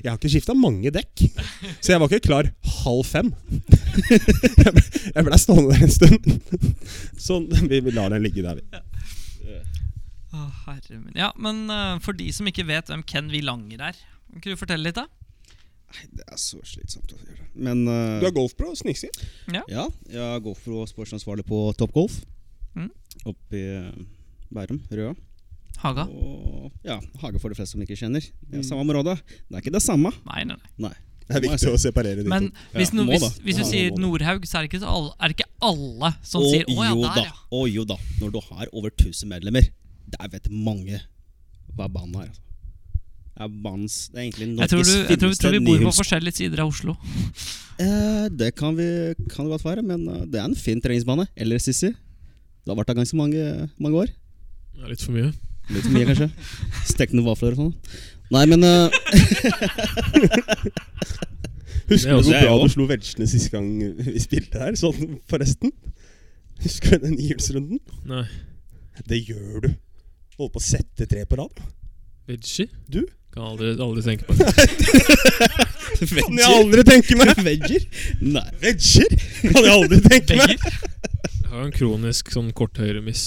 Speaker 1: Jeg har ikke skifta mange dekk, så jeg var ikke klar halv fem. Jeg ble- Jeg blei stående der en stund. Sånn, vi vi lar den ligge der, vi.
Speaker 2: Å, herre min. Ja, men eh, for de som ikke vet hvem Ken Villanger er, kan du fortelle litt, da?
Speaker 4: Det er så slitsomt å gjøre. Men eh,
Speaker 1: Du er golfpro, snikser.
Speaker 4: ja, jeg er golfpro og sportsansvarlig på Top Golf.
Speaker 2: Mm.
Speaker 4: Oppe i eh, Bærum, Røa.
Speaker 2: Haga?
Speaker 4: Og ja, Hage for de fleste som ikke kjenner.
Speaker 2: Mm.
Speaker 4: Det er samme område. Det er ikke det samme.
Speaker 2: Nei, nei, nei.
Speaker 4: Nei.
Speaker 1: Det er
Speaker 4: må jeg
Speaker 1: viktig
Speaker 4: si.
Speaker 1: å separere de
Speaker 2: Men
Speaker 1: to.
Speaker 2: hvis,
Speaker 4: Ja,
Speaker 2: no,
Speaker 4: må
Speaker 2: hvis,
Speaker 4: da.
Speaker 2: hvis du
Speaker 4: Ja,
Speaker 2: sier
Speaker 4: må da.
Speaker 2: Nordhaug, så er det ikke, så alle, er det ikke alle som
Speaker 4: Å,
Speaker 2: sier 'Å ja,
Speaker 4: jo
Speaker 2: der,
Speaker 4: da.
Speaker 2: ja'.
Speaker 4: Å jo da. Når du har over 1000 medlemmer, der vet mange hva banen er. Altså. Det er banens Det er egentlig
Speaker 2: Jeg tror,
Speaker 4: Norges
Speaker 2: du, jeg, tror,
Speaker 4: fineste
Speaker 2: tror vi bor på
Speaker 4: nihulsbane.
Speaker 2: forskjellige sider av Oslo.
Speaker 4: Eh, det kan, vi, kan det godt være, men eh, det er en fin treningsbane. Eller Sissy. Det har vært der ganske mange, mange år.
Speaker 5: Det er litt for mye.
Speaker 4: Litt for mye, kanskje. Stekt noen vafler og sånn. Nei, men eh,
Speaker 1: Husker
Speaker 5: Det
Speaker 1: du
Speaker 5: også
Speaker 1: hvor
Speaker 4: jeg
Speaker 1: bra
Speaker 4: også.
Speaker 1: du slo velsjene sist gang vi spilte her? Sånn forresten. Husker du den ihjulsrunden?
Speaker 5: Nei.
Speaker 1: Det gjør du. Holdt på å sette tre på rad.
Speaker 5: Veggie?
Speaker 1: Du?
Speaker 5: Kan aldri, aldri tenke på det.
Speaker 1: Kan jeg aldri tenke meg!
Speaker 4: Vegger? Nei.
Speaker 1: Vegger kan jeg aldri tenke meg!
Speaker 2: Begge.
Speaker 5: Jeg har jo en kronisk sånn kort høyremiss.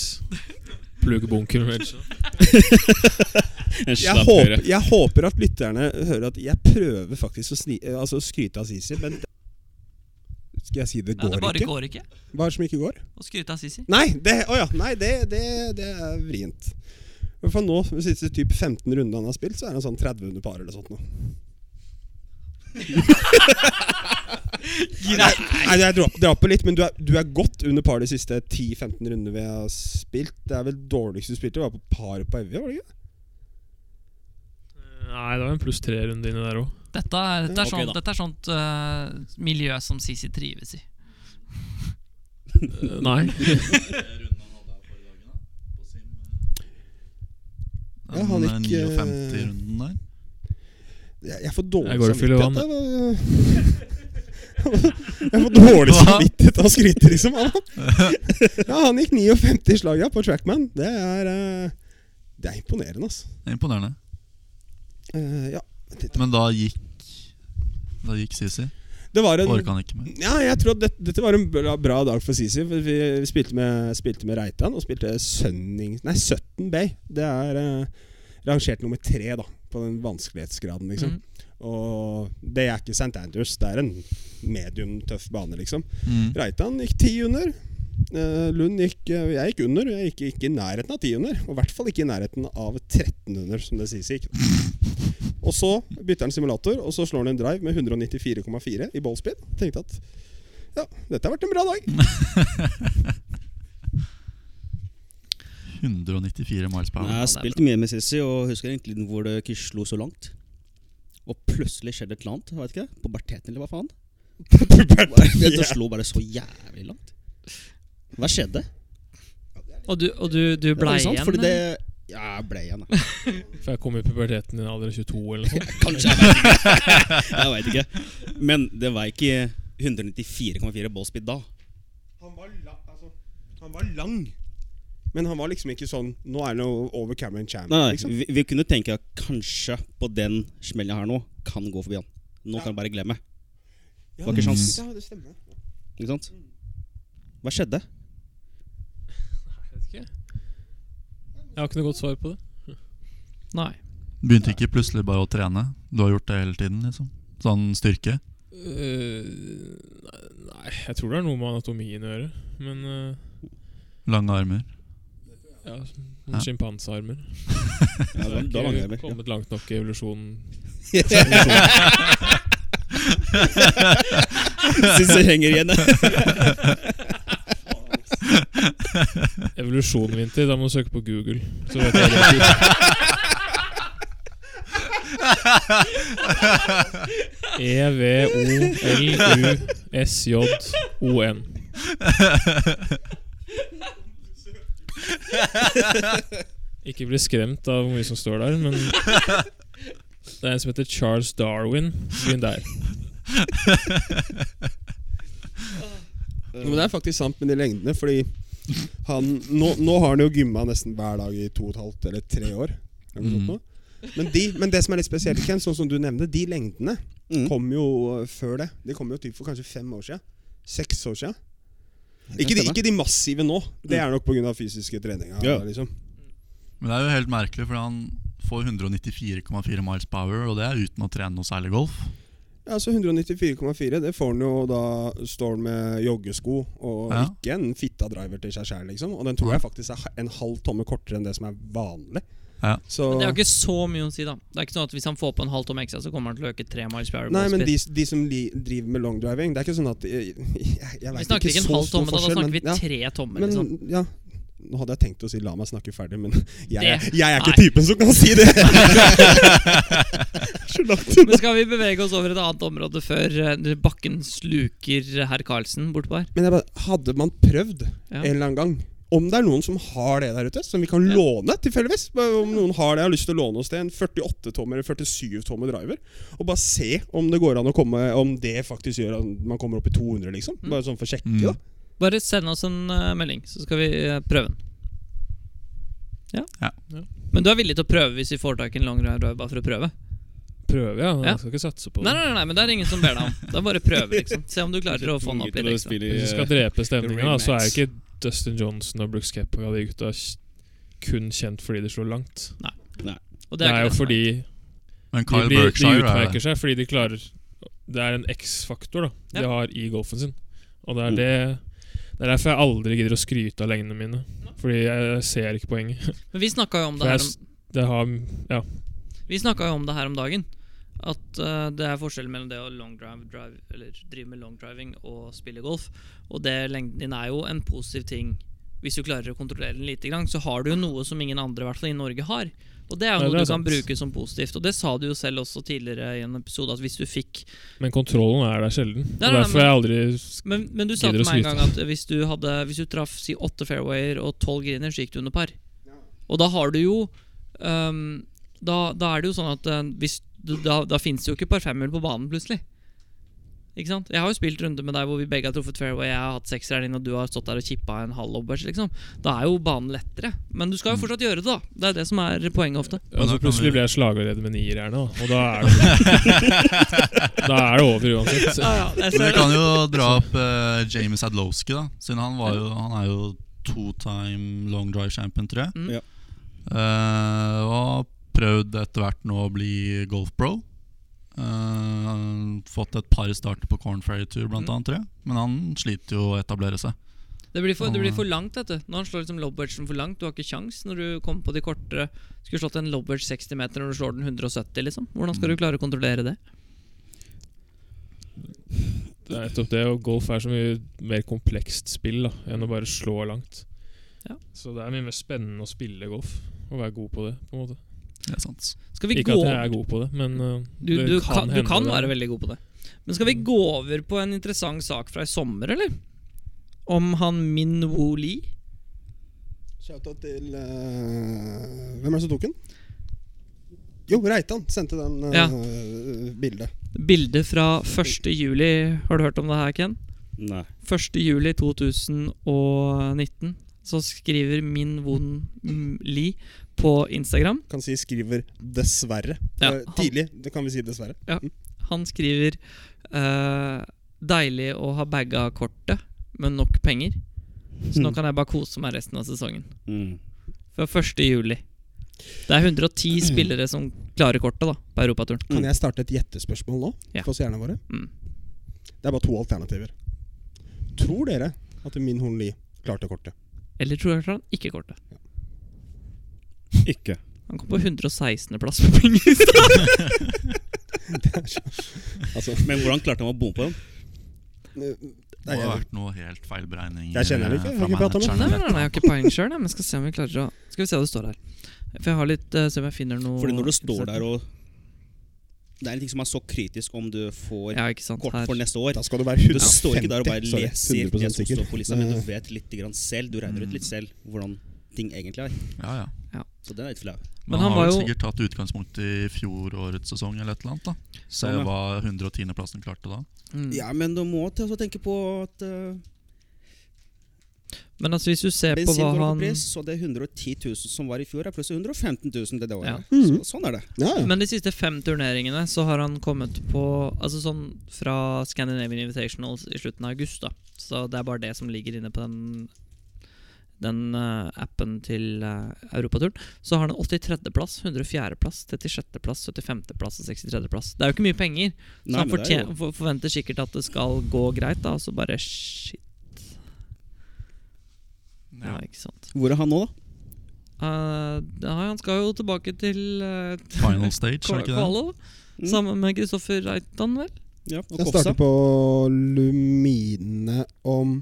Speaker 5: Pluggebunker med veggie.
Speaker 4: En
Speaker 1: Jeg
Speaker 4: slapp
Speaker 1: håper,
Speaker 4: høyre.
Speaker 1: jeg håper at lytterne hører at jeg prøver faktisk å sni, eh, altså, å skryte av Sisi, men det- Skal jeg si det
Speaker 2: Nei,
Speaker 1: går
Speaker 2: det bare
Speaker 1: ikke?
Speaker 2: går ikke.
Speaker 1: Hva er det som ikke går?
Speaker 2: Å skryte av Sisi.
Speaker 1: Nei, det, å ja, nei, det, det, det er vrient. For nå, de siste typ 15 rundene han har spilt, så er han sånn 30 under par eller sånt nå.
Speaker 2: Greit.
Speaker 1: Nei, jeg drar, drar på litt, men du er, du er godt under par de siste 10-15 rundene vi har spilt. Det er vel dårligst du spilte, var på par på Evje, var det ikke?
Speaker 5: Nei, det var en pluss tre-runde inni der òg.
Speaker 2: Dette er, dette er
Speaker 4: Ok,
Speaker 2: sånt,
Speaker 4: da.
Speaker 2: dette er sånt eh, miljø som Sisi trives i.
Speaker 5: Nei.
Speaker 1: Ja, han
Speaker 3: Den
Speaker 1: gikk, eh,
Speaker 3: 59-runden der.
Speaker 1: Jeg, jeg får dårlig
Speaker 5: Jeg går og fyller vann,
Speaker 1: Jeg, jeg får dårlig
Speaker 3: Hva?
Speaker 1: samvittighet av å skryte, liksom. Han. Ja, han gikk 59 i slaget på Trackman. Det er, eh, det er imponerende, altså.
Speaker 3: Det er Imponerende.
Speaker 1: Eh, ja, vent litt.
Speaker 3: Men da gikk Da gikk Sisi.
Speaker 1: Det var en
Speaker 3: Orka han ikke mer.
Speaker 1: Ja, jeg tror at dette, dette var en bra, bra dag for Sisi. for Vi, vi spilte, med, spilte med Reitan og spilte Sønning... Nei, 17 Bay. Det er eh, rangert nummer tre da, på den vanskelighetsgraden, liksom.
Speaker 2: Mm.
Speaker 1: Og det er ikke St. Andrews. Det er en medium tøff bane, liksom.
Speaker 3: Mm.
Speaker 1: Reitan gikk ti under. Eh, Lund gikk eh, Jeg gikk under. Jeg gikk ikke i nærheten av ti under. Og i hvert fall ikke i nærheten av 13 under, som det sies gikk. Og så bytter han simulator, og så slår han en drive med 194,4 i ballspeed. Tenkte at ja, dette har vært en bra dag.
Speaker 3: 194 miles per
Speaker 4: Jeg
Speaker 3: hour.
Speaker 4: har spilt mye med Sissy, og husker egentlig den hvor det ikke slo så langt. Og plutselig skjedde et eller annet, jeg vet ikke, puberteten eller hva faen. Det
Speaker 1: Ja.
Speaker 4: slo bare så jævlig langt. Hva skjedde?
Speaker 2: Og du, og du, du blei
Speaker 4: Det er sant,
Speaker 2: igjen?
Speaker 4: Fordi det,
Speaker 2: eller?
Speaker 4: ja, jeg ble igjen, jeg.
Speaker 5: For jeg kom i puberteten i en alder av 22 eller noe sånt.
Speaker 4: Kanskje, jeg vet ikke. jeg vet ikke. Men det var ikke 194,4 ball speed da.
Speaker 1: Han var, la, altså, han var lang. Men han var liksom ikke sånn Nå er han jo over Cameron Cham.
Speaker 4: Nei, nei,
Speaker 1: liksom.
Speaker 4: vi, vi kunne tenke at kanskje på den smellen her nå kan gå forbi han. Nå kan jeg bare glemme.
Speaker 1: Ja,
Speaker 4: var ikke sånn. sjans.
Speaker 1: Ja, det stemmer.
Speaker 4: Ikke sant? Hva skjedde?
Speaker 5: Jeg har ikke noe godt svar på det.
Speaker 2: Nei.
Speaker 3: Begynte ikke plutselig bare å trene. Du har gjort det hele tiden, liksom. Sånn styrke.
Speaker 5: Øh, Eh, nei, jeg tror det er noe med anatomien å gjøre. Men øh,
Speaker 3: Lange armer.
Speaker 5: ja,
Speaker 3: Ja.
Speaker 5: sjimpansearmer.
Speaker 4: Ja,
Speaker 5: Så
Speaker 4: da,
Speaker 5: jeg
Speaker 4: da
Speaker 5: har
Speaker 4: var
Speaker 5: ikke
Speaker 4: det
Speaker 5: kommet langt nok i evolusjonen.
Speaker 4: Syns jeg henger igjen. jeg.
Speaker 5: Evolusjon, Vinter. Da må du søke på Google. Så vet jeg det. E E-V-O-L-U-S-J-O-N. Ikke bli skremt av hvor mye som står der, men det er en som heter Charles Darwin. Begynn der.
Speaker 1: Jo, Men Det er faktisk sant med de lengdene, fordi han Nå, nå har han jo gymma nesten hver dag i to og et halvt eller tre år. Eller noe sånt
Speaker 3: Mm.
Speaker 1: nå. men, de, men det som er litt spesielt, Ken, sånn som du nevnte, de lengdene
Speaker 4: Mm.
Speaker 1: kom jo eh, før det. De kom jo typ for kanskje fem år siden. Seks år siden.
Speaker 4: kan
Speaker 1: Ikke de,
Speaker 4: stemme.
Speaker 1: ikke de massive nå. Det
Speaker 3: Mm.
Speaker 1: er nok pga. fysiske treninga.
Speaker 4: Ja.
Speaker 1: Liksom.
Speaker 3: Men det er jo helt merkelig, for han får 194,4 miles per hour, og det er uten å trene noe særlig golf.
Speaker 1: Ja, så 194,4. Det får han jo da står han med joggesko og
Speaker 3: Ja.
Speaker 1: ikke en fitta driver til seg sjæl, liksom. Og den tror jeg faktisk er en halv tomme kortere enn det som er vanlig.
Speaker 3: Ja.
Speaker 1: Så,
Speaker 2: Men det har ikke så mye å si, da. Det er ikke sånn at Hvis han får på en halv tom ekstra, så kommer han til å øke tre miles per hour.
Speaker 1: Nei, men de,
Speaker 2: ballspeed.
Speaker 1: de som li, driver med longdriving Det er ikke sånn at Jeg, jeg, jeg
Speaker 2: Vi
Speaker 1: vet
Speaker 2: snakker
Speaker 1: ikke,
Speaker 2: ikke en
Speaker 1: så
Speaker 2: halv
Speaker 1: stor
Speaker 2: tomme, da, da
Speaker 1: forskjell,
Speaker 2: snakker vi
Speaker 1: men, ja,
Speaker 2: tre tommer.
Speaker 1: men,
Speaker 2: liksom.
Speaker 1: ja. Nå hadde jeg tenkt å si 'la meg snakke ferdig', men jeg, jeg,
Speaker 2: Det-
Speaker 1: er ikke
Speaker 2: nei.
Speaker 1: typen som kan si det! Så langt
Speaker 2: Men skal vi bevege oss over et annet område før eh, bakken sluker herr Karlsen bortpå her?
Speaker 1: Men jeg bare, hadde man prøvd
Speaker 2: Ja.
Speaker 1: en eller annen gang Om det er noen som har det der ute, som vi kan
Speaker 2: Ja.
Speaker 1: låne tilfeldigvis bare Om noen har det, jeg har lyst til å låne oss det, en 48-tommer eller 47-tommer driver, og bare se om det går an å komme Om det faktisk gjør at man kommer opp i 200, liksom.
Speaker 2: Mm.
Speaker 1: Bare sånn for å sjekke,
Speaker 3: Mm.
Speaker 1: da.
Speaker 2: Bare send oss en eh, melding, så skal vi eh, prøve den. Ja.
Speaker 3: Ja.
Speaker 5: Ja.
Speaker 2: Men du er villig til å prøve hvis vi får tak i en long ride bare for å prøve?
Speaker 5: Prøve, ja.
Speaker 2: Ja.
Speaker 5: Jeg skal ikke satse på
Speaker 2: Nei,
Speaker 5: det.
Speaker 2: nei, nei, men det er ingen som ber deg om. Det er bare å prøve, liksom. Se om du klarer å få den opp liksom. litt ekstra.
Speaker 5: Hvis du skal drepe stemninga, så er jo ikke Dustin Johnson og Brooks Kepa og de gutta s- kun kjent fordi de slår langt.
Speaker 2: Og
Speaker 5: Det er, jo
Speaker 2: ikke som
Speaker 5: fordi
Speaker 3: Men
Speaker 5: de,
Speaker 3: Kyle
Speaker 5: blir, de
Speaker 3: Berkshire er
Speaker 5: utmerker seg fordi de klarer Det er en X-faktor da de
Speaker 2: Ja.
Speaker 5: har i golfen sin. Og det
Speaker 3: Oh.
Speaker 4: Mm.
Speaker 5: er det Det er derfor jeg aldri gidder å skryte av lengdene mine. Fordi jeg ser ikke poenget.
Speaker 2: Men vi snakka jo om det
Speaker 5: For jeg,
Speaker 2: her om
Speaker 5: s- det har Ja.
Speaker 2: Vi snakka jo om det her om dagen. At eh, det er forskjell mellom det å long drive, drive, eller drive med long driving og spille golf. Og det lengden din er jo en positiv ting. Hvis du klarer å kontrollere den lite grann, så har du jo noe som ingen andre, i hvert fall i Norge, har. Og det er jo
Speaker 5: Ja, det
Speaker 2: noe
Speaker 5: er
Speaker 2: du kan
Speaker 5: sant.
Speaker 2: bruke som positivt. Og det sa du jo selv også tidligere i en episode, at hvis du fikk
Speaker 5: Men kontrollen er der sjelden.
Speaker 2: Nei,
Speaker 5: og
Speaker 2: nei,
Speaker 5: derfor
Speaker 2: men-
Speaker 5: har jeg aldri
Speaker 2: Men, men du sa
Speaker 5: Gidder
Speaker 2: til
Speaker 5: å
Speaker 2: meg en
Speaker 5: skryte.
Speaker 2: gang at hvis du, hadde, hvis du traff si åtte fairwayer og tolv griner, så gikk du under par. Og da har du jo ehm, da, da er det jo sånn at eh, hvis du, da, da fins det jo ikke par femhjul på banen plutselig. Ikke sant? Jeg har jo spilt runder med deg hvor vi begge har truffet fairway, jeg har hatt sekseren din, og du har stått der og kippa en halv obbers. Liksom. Da er jo banen lettere. Men du skal jo fortsatt gjøre det, da. Det er det som er poenget ofte.
Speaker 5: Og
Speaker 3: da kan
Speaker 5: så
Speaker 3: vi-
Speaker 5: plutselig blir jeg slageredd med nierhjerne, da. Og da er det Da er det over uansett.
Speaker 3: Men vi kan jo dra opp eh, James Adlowski, da. Siden han, var jo, han er jo two-time long drive champion, tror jeg.
Speaker 2: Mm.
Speaker 4: Ja.
Speaker 3: Eh, og har prøvd etter hvert nå å bli golf-pro. fått et par starter på Corn Ferry Tour, blant
Speaker 2: Mm.
Speaker 3: annet, tror jeg. Men han sliter jo å etablere seg.
Speaker 2: Det blir, for, det
Speaker 5: Mm.
Speaker 2: blir for langt, vet du. Når han slår liksom lobwedgen for langt, du har ikke kjangs når du kommer på de kortere. Skulle slått en lobwedge 60 meter når du slår den 170, liksom. Hvordan
Speaker 5: Mm.
Speaker 2: skal du klare å kontrollere det?
Speaker 5: Det er nettopp det, og golf er så mye mer komplekst spill da enn å bare slå langt.
Speaker 2: Ja.
Speaker 5: Så det er mye mer spennende å spille golf og være god på det. på en måte
Speaker 3: Det er sant.
Speaker 2: Skal vi
Speaker 5: Ikke
Speaker 2: gå
Speaker 5: at jeg er god på det, men uh,
Speaker 2: Du,
Speaker 5: det
Speaker 2: du, kan, du
Speaker 5: hende
Speaker 2: kan
Speaker 5: det. Mm.
Speaker 2: være veldig god på det. Men skal vi gå over på en interessant sak fra i sommer, eller? Om han Min Woo Lee.
Speaker 1: Shoutout til eh, Hvem er det som tok den? Jo, Reitan sendte den eh,
Speaker 2: Ja.
Speaker 1: bildet.
Speaker 2: Bildet fra 1. juli Har du hørt om det her, Ken?
Speaker 4: Nei.
Speaker 2: 1. juli 2019 så skriver Min Won M- Lee på Instagram
Speaker 1: Kan si skriver 'dessverre'.
Speaker 2: Ja,
Speaker 1: Eh,
Speaker 2: han-
Speaker 1: Tidlig, det kan vi si dessverre.
Speaker 2: Han skriver eh, Deilig å ha bagga kortet Med nok penger Så
Speaker 4: Hmm.
Speaker 2: nå kan jeg bare kose meg resten av sesongen
Speaker 4: Mm.
Speaker 2: Fra 1. juli Det er 110 spillere som klarer kortet da På Europaturen
Speaker 1: Kan jeg starte et gjettespørsmål nå?
Speaker 2: Mm. Ja.
Speaker 1: For seerne våre?
Speaker 2: Mm.
Speaker 1: Det er bare to alternativer. Tror dere at Min Horn Lie klarte kortet?
Speaker 2: Eller tror jeg han ikke kortet
Speaker 4: Ikke.
Speaker 2: Han kom på 116. plass på penger
Speaker 1: Altså,
Speaker 4: Men hvordan klarte han å bomme på den?
Speaker 1: det
Speaker 3: Det
Speaker 1: er
Speaker 3: må ha
Speaker 1: jeg.
Speaker 3: vært noe helt feil beregning.
Speaker 1: Jeg kjenner det ikke, jeg
Speaker 3: eh, fra
Speaker 1: har ikke pratet med
Speaker 2: Nei,
Speaker 3: manageren.
Speaker 2: nei, nei, jeg har ikke poeng sjøl, men jeg skal se om vi klarer å Skal vi se hva det står her. For jeg har litt eh, Se om jeg finner noe
Speaker 4: Fordi når du står der og Det er en ting som er så kritisk om du får
Speaker 2: Ja, ikke sant.
Speaker 4: kort
Speaker 2: Her.
Speaker 4: for neste år.
Speaker 1: Da skal du være 150
Speaker 4: Du står ikke der og bare
Speaker 1: sorry,
Speaker 4: leser
Speaker 1: 100%
Speaker 4: det som
Speaker 1: sikker.
Speaker 4: står på lista, men du
Speaker 1: Eh,
Speaker 4: vet litt grann selv. Du regner ut litt selv hvordan ting egentlig er.
Speaker 3: Ja, ja.
Speaker 4: Så den er litt flau.
Speaker 3: Men
Speaker 2: Men han
Speaker 3: han har
Speaker 2: var
Speaker 3: jo
Speaker 2: jo-
Speaker 3: sikkert tatt utgangspunkt i fjorårets sesong eller et eller annet. da Se
Speaker 1: Sånn, ja.
Speaker 3: hva 110.-plassen klarte da.
Speaker 2: Mm.
Speaker 4: Ja, men du må til også tenke på at eh,
Speaker 2: Men altså, hvis du ser på
Speaker 4: bensin
Speaker 2: hva
Speaker 4: går opp i
Speaker 2: han
Speaker 4: pris, så det 110 000 som var i fjor, er plutselig 115 000 det
Speaker 2: Ja.
Speaker 4: det året.
Speaker 1: Mhm.
Speaker 4: Så, sånn er det.
Speaker 1: Ja, ja.
Speaker 2: Men de siste fem turneringene så har han kommet på Altså sånn fra Scandinavian Invitationals i slutten av august, da. Så det er bare det som ligger inne på den den eh, appen til eh, europaturen. Så har han 83.-plass, 104.-plass, 36.-plass, 75.-plass og 63.-plass. Det er jo ikke mye penger. Så
Speaker 4: Nei,
Speaker 2: han
Speaker 4: men det er jo-
Speaker 2: fortjen- for, forventer sikkert at det skal gå greit, da, og så bare shit. Ja, ikke sant.
Speaker 4: Hvor er han nå, da?
Speaker 2: Eh, ja, han skal jo tilbake til eh,
Speaker 3: Final stage, er det ikke det?
Speaker 2: Kvala, da.
Speaker 4: Mm.
Speaker 2: Sammen med Kristoffer Reitan, vel?
Speaker 4: Ja, og
Speaker 1: Jeg
Speaker 4: Kofsa.
Speaker 1: starter på Lumine om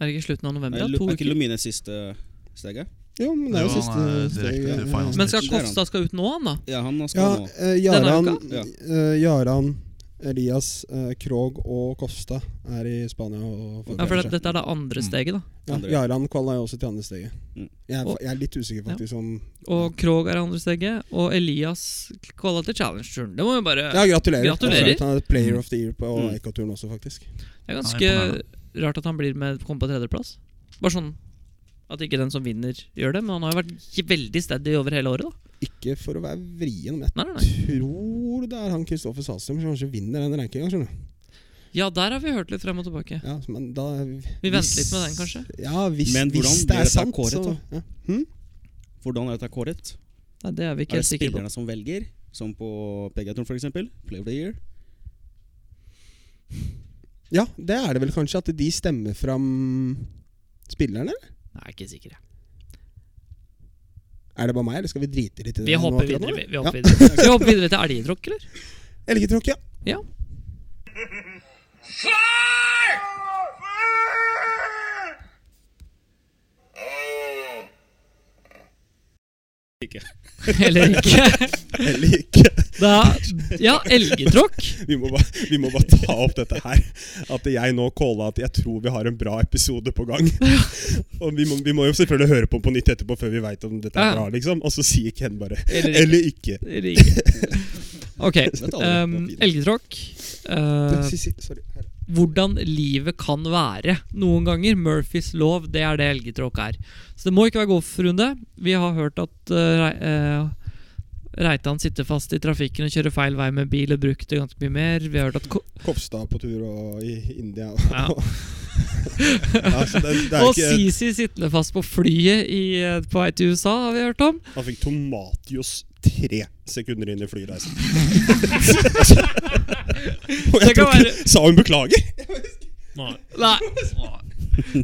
Speaker 2: Er det ikke slutten av november?
Speaker 4: Er
Speaker 2: Da?
Speaker 4: Lu-
Speaker 2: To
Speaker 4: er ikke
Speaker 2: uker.
Speaker 4: Lumine siste steget?
Speaker 1: Jo, men det er jo
Speaker 3: Jo,
Speaker 1: siste
Speaker 3: han er direkte
Speaker 1: steget.
Speaker 3: til finals.
Speaker 2: Men skal
Speaker 4: Der er han.
Speaker 2: Kosta skal ut nå, han da?
Speaker 4: Ja, han skal
Speaker 1: Ja,
Speaker 4: nå.
Speaker 1: eh, Jaran,
Speaker 4: Denne
Speaker 1: eh, Jaran, Elias, eh, Krog og Kosta er i Spania og
Speaker 2: Ja, for
Speaker 1: forbereder
Speaker 2: det,
Speaker 1: seg.
Speaker 2: Dette er det andre
Speaker 3: Mm.
Speaker 2: steget, da.
Speaker 1: Ja,
Speaker 4: andre.
Speaker 1: Jaran kvala jo også til andre steget.
Speaker 4: Mm.
Speaker 1: Jeg er,
Speaker 2: Og-
Speaker 1: jeg er litt usikker faktisk om
Speaker 2: Og Krog er det andre steget. Og Elias kvala til Challenge-turen. Det må jo bare
Speaker 1: Ja, gratulerer.
Speaker 2: Gratulerer.
Speaker 1: Han er player of the year på
Speaker 4: Mm.
Speaker 1: Ekoturen også, faktisk.
Speaker 2: Det er
Speaker 3: Nei,
Speaker 2: ganske
Speaker 3: imponerende.
Speaker 2: rart at han blir med kommer på tredjeplass. Bare sånn at ikke den som vinner, gjør det. Men han har jo vært j- veldig steady over hele året, da.
Speaker 1: Ikke for å være vrien, men jeg
Speaker 2: Nei, nei, nei.
Speaker 1: tror det er han Kristoffer Salstrøm som kanskje vinner den rankinga, skjønner du.
Speaker 2: Ja, der har vi hørt litt frem og tilbake.
Speaker 1: Ja, men da
Speaker 2: Vi venter litt med den, kanskje.
Speaker 1: Ja, hvis,
Speaker 4: Men hvordan
Speaker 1: hvis
Speaker 4: blir
Speaker 1: det er
Speaker 4: dette
Speaker 1: sant,
Speaker 4: kåret,
Speaker 1: så ja. hm?
Speaker 4: Hvordan er dette kåret?
Speaker 2: Nei, Det er vi ikke
Speaker 4: Er det
Speaker 2: helt sikre på.
Speaker 4: spillerne som velger? Som på Pegatoren, for eksempel. Play of the year.
Speaker 1: ja, det er det vel kanskje, at de stemmer fram spillerne?
Speaker 2: Nei, ikke sikre.
Speaker 1: Er det bare meg, eller skal vi drite litt i det?
Speaker 2: Vi
Speaker 1: nå
Speaker 2: hopper
Speaker 1: akkurat nå,
Speaker 2: videre, vi.
Speaker 1: eller?
Speaker 2: vi hopper videre. Skal vi hoppe videre til elgetråkk, eller?
Speaker 1: Ja. Elgetråkk, ja.
Speaker 2: Ja.
Speaker 4: Ikke.
Speaker 2: Eller ikke.
Speaker 1: Eller ikke.
Speaker 2: Da, ja, elgetråkk.
Speaker 1: Vi må, bare, vi må bare ta opp dette her. At jeg nå calla at jeg tror vi har en bra episode på gang. Og vi må, vi må jo selvfølgelig høre på den på nytt etterpå før vi veit om dette
Speaker 2: Ja.
Speaker 1: er bra, liksom. Og så sier Ken bare
Speaker 2: Eller ikke.
Speaker 1: Eller ikke.
Speaker 2: Eller ikke. Ok.
Speaker 4: Dette har aldri
Speaker 2: Um,
Speaker 4: vært fint.
Speaker 2: elgetråkk. eh,
Speaker 1: Si- si- Sorry. Her.
Speaker 2: hvordan livet kan være noen ganger. Murphys lov, det er det elgetråkk er. Så det må ikke være golfrunde. Vi har hørt at eh, Rei- eh, Reitan sitter fast i trafikken og kjører feil vei med bil og brukte ganske mye mer. Vi har hørt at ko
Speaker 1: Kopstad på tur og i India.
Speaker 2: Ja.
Speaker 1: Ja, så det, det er
Speaker 2: Og
Speaker 1: ikke,
Speaker 2: Sisi sitter fast på flyet i, eh, på vei til USA, har vi hørt om.
Speaker 1: han fikk tomatjuice tre sekunder inn i flyreisen. og
Speaker 2: Det
Speaker 1: jeg
Speaker 2: kan
Speaker 1: tror
Speaker 2: være-
Speaker 1: ikke Sa hun beklager?
Speaker 5: Nei.
Speaker 2: Nei.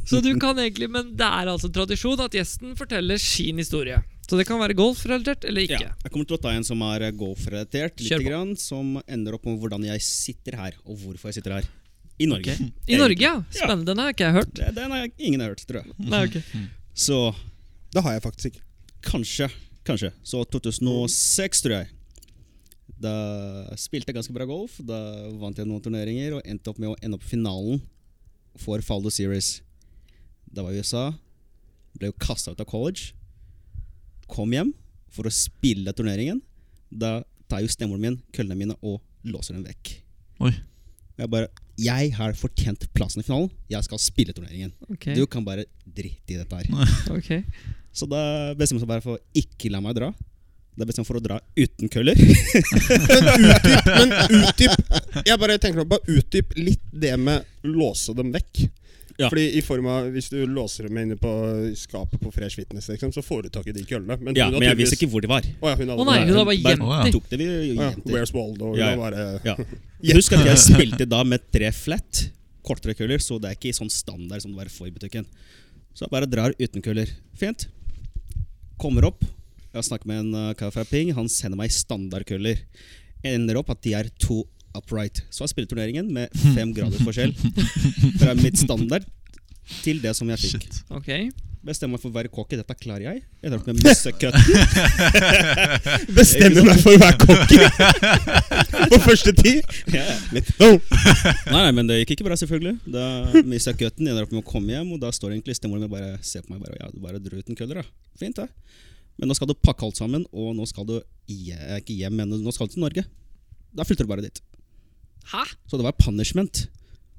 Speaker 2: Så du kan egentlig Men det er altså tradisjon at gjesten forteller sin historie. Så det kan være golfrelatert eller ikke.
Speaker 4: Ja. Jeg kommer til å ta en som er eh, golfrelatert,
Speaker 2: Kjør på.
Speaker 4: lite grann. Som ender opp med hvordan jeg sitter her, og hvorfor jeg sitter her. I Norge.
Speaker 2: I Norge, ja. Spennende. Den har ikke jeg hørt.
Speaker 4: Det, den har jeg- ingen har hørt, tror jeg.
Speaker 2: Nei, ok
Speaker 4: Så
Speaker 1: Det har jeg faktisk ikke.
Speaker 4: kanskje, kanskje. Så 2006, tror jeg. Da spilte jeg ganske bra golf. Da vant jeg noen turneringer og endte opp med å ende opp i finalen for Faldo Series. Da var jeg i USA. Ble jo kasta ut av college. Kom hjem for å spille turneringen. Da tar jo stemoren min køllene mine og låser dem vekk.
Speaker 3: Oi.
Speaker 4: Jeg bare Jeg har fortjent plassen i finalen. Jeg skal spille turneringen.
Speaker 2: Ok,
Speaker 4: Du kan bare drite i dette her.
Speaker 2: ok
Speaker 4: Så da bestemte jeg meg bare for å ikke la meg dra. Da bestemte jeg meg for å dra uten køller.
Speaker 1: Utdyp, men utdyp Jeg bare tenker nå, bare utdyp litt det med låse dem vekk.
Speaker 4: Ja.
Speaker 1: Fordi i form av Hvis du låser dem inne på skapet på Fresh Fitness, liksom, så får du tak i de køllene. Men
Speaker 4: Ja,
Speaker 1: hun har
Speaker 4: men jeg
Speaker 1: tydeligvis-
Speaker 4: visste ikke hvor de
Speaker 1: Å
Speaker 4: var.
Speaker 1: ja, hun hadde
Speaker 2: Å nei, hun har bare
Speaker 4: Bare-
Speaker 2: gjemt
Speaker 3: Å,
Speaker 2: det.
Speaker 4: Tok det vi
Speaker 1: Å ja,
Speaker 4: jenter.
Speaker 1: Where's Waldo? Hun
Speaker 4: Ja,
Speaker 1: har bare
Speaker 4: Ja. Husk at jeg spilte da med tre flat, kortere køller, så det er ikke sånn standard som det var for i butikken. Så jeg bare drar uten køller. Fint. Kommer opp. Jeg snakker med en uh, kar fra Ping. Han sender meg standardkøller. Ender opp at de er to upright. Så jeg spiller turneringen med fem graders forskjell. Fra mitt standard til det som jeg fikk.
Speaker 3: Shit.
Speaker 2: Ok,
Speaker 4: Bestemmer meg for å være cocky. Dette klarer jeg. Jeg drar med mussekøtten.
Speaker 1: Bestemmer meg for å være cocky på første tid!
Speaker 4: Ja.
Speaker 1: No.
Speaker 4: Nei, nei, men det gikk ikke bra, selvfølgelig. Da mista jeg cutten, ender opp med å komme hjem, og da står egentlig stemoren min og bare ser på meg bare, ja, du bare dro ut en køller, da. Fint, det. Men nå skal du pakke alt sammen, og nå skal du je- ikke hjem, men nå skal du til Norge. Da flytter du bare dit.
Speaker 2: Hæ?
Speaker 4: Så det var punishment.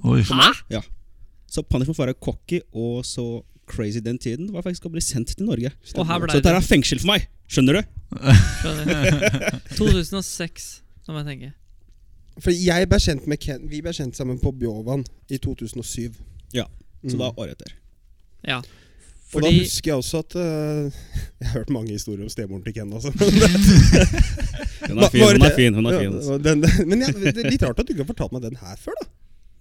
Speaker 3: Oi.
Speaker 2: Hæ?
Speaker 4: Så punishment for å være cocky og så crazy den tiden var faktisk å bli sendt til Norge.
Speaker 2: Og her ble
Speaker 4: Så dette
Speaker 2: det
Speaker 4: er fengsel for meg, skjønner du?
Speaker 2: skjønner. 2006, nå må jeg tenke.
Speaker 1: For jeg ble kjent med Ken Vi ble kjent sammen på Bjovan i 2007.
Speaker 4: Så
Speaker 1: Mm.
Speaker 4: da året etter.
Speaker 2: Ja.
Speaker 1: Og da
Speaker 2: Fordi-
Speaker 1: husker jeg også at eh, Jeg har hørt mange historier om stemoren til Ken. Altså.
Speaker 4: Hun
Speaker 1: Hva-
Speaker 4: er fin,
Speaker 1: var
Speaker 4: hun er
Speaker 1: det-
Speaker 4: fin. hun er
Speaker 1: Ja,
Speaker 4: fin. altså.
Speaker 1: og den, men jeg, det er litt rart at du ikke har fortalt meg den her før, da.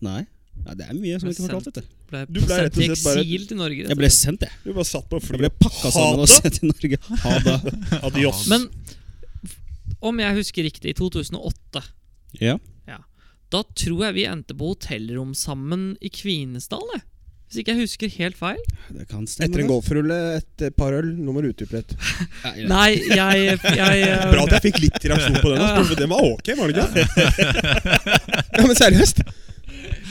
Speaker 4: Nei, ja, det er mye som jeg ikke har fortalt, vet du.
Speaker 2: Ble
Speaker 1: Du ble rett og
Speaker 2: sendt i
Speaker 1: slett bare-
Speaker 2: eksil til Norge. rett
Speaker 4: Jeg
Speaker 2: og
Speaker 4: ble
Speaker 2: slett.
Speaker 4: sendt, jeg.
Speaker 1: Du bare satt på
Speaker 4: Jeg ble
Speaker 1: flyet.
Speaker 4: pakka sammen
Speaker 1: Ha
Speaker 4: og
Speaker 1: det!
Speaker 4: sendt til Norge. Ha det.
Speaker 1: Adios.
Speaker 2: Men om jeg husker riktig, i 2008
Speaker 4: Ja.
Speaker 2: Da tror jeg vi endte på hotellrom sammen i Kvinesdal, jeg. Hvis ikke jeg husker helt feil.
Speaker 4: Det kan stemme.
Speaker 1: Etter en
Speaker 4: det.
Speaker 1: golfrulle, et eh, par øl, nummer utdypet.
Speaker 4: Nei,
Speaker 2: Nei, jeg, jeg eh,
Speaker 1: Bra at jeg fikk litt reaksjon på den.
Speaker 2: Ja, ja.
Speaker 1: altså, for Den var ok, var det ikke? Ja, men seriøst.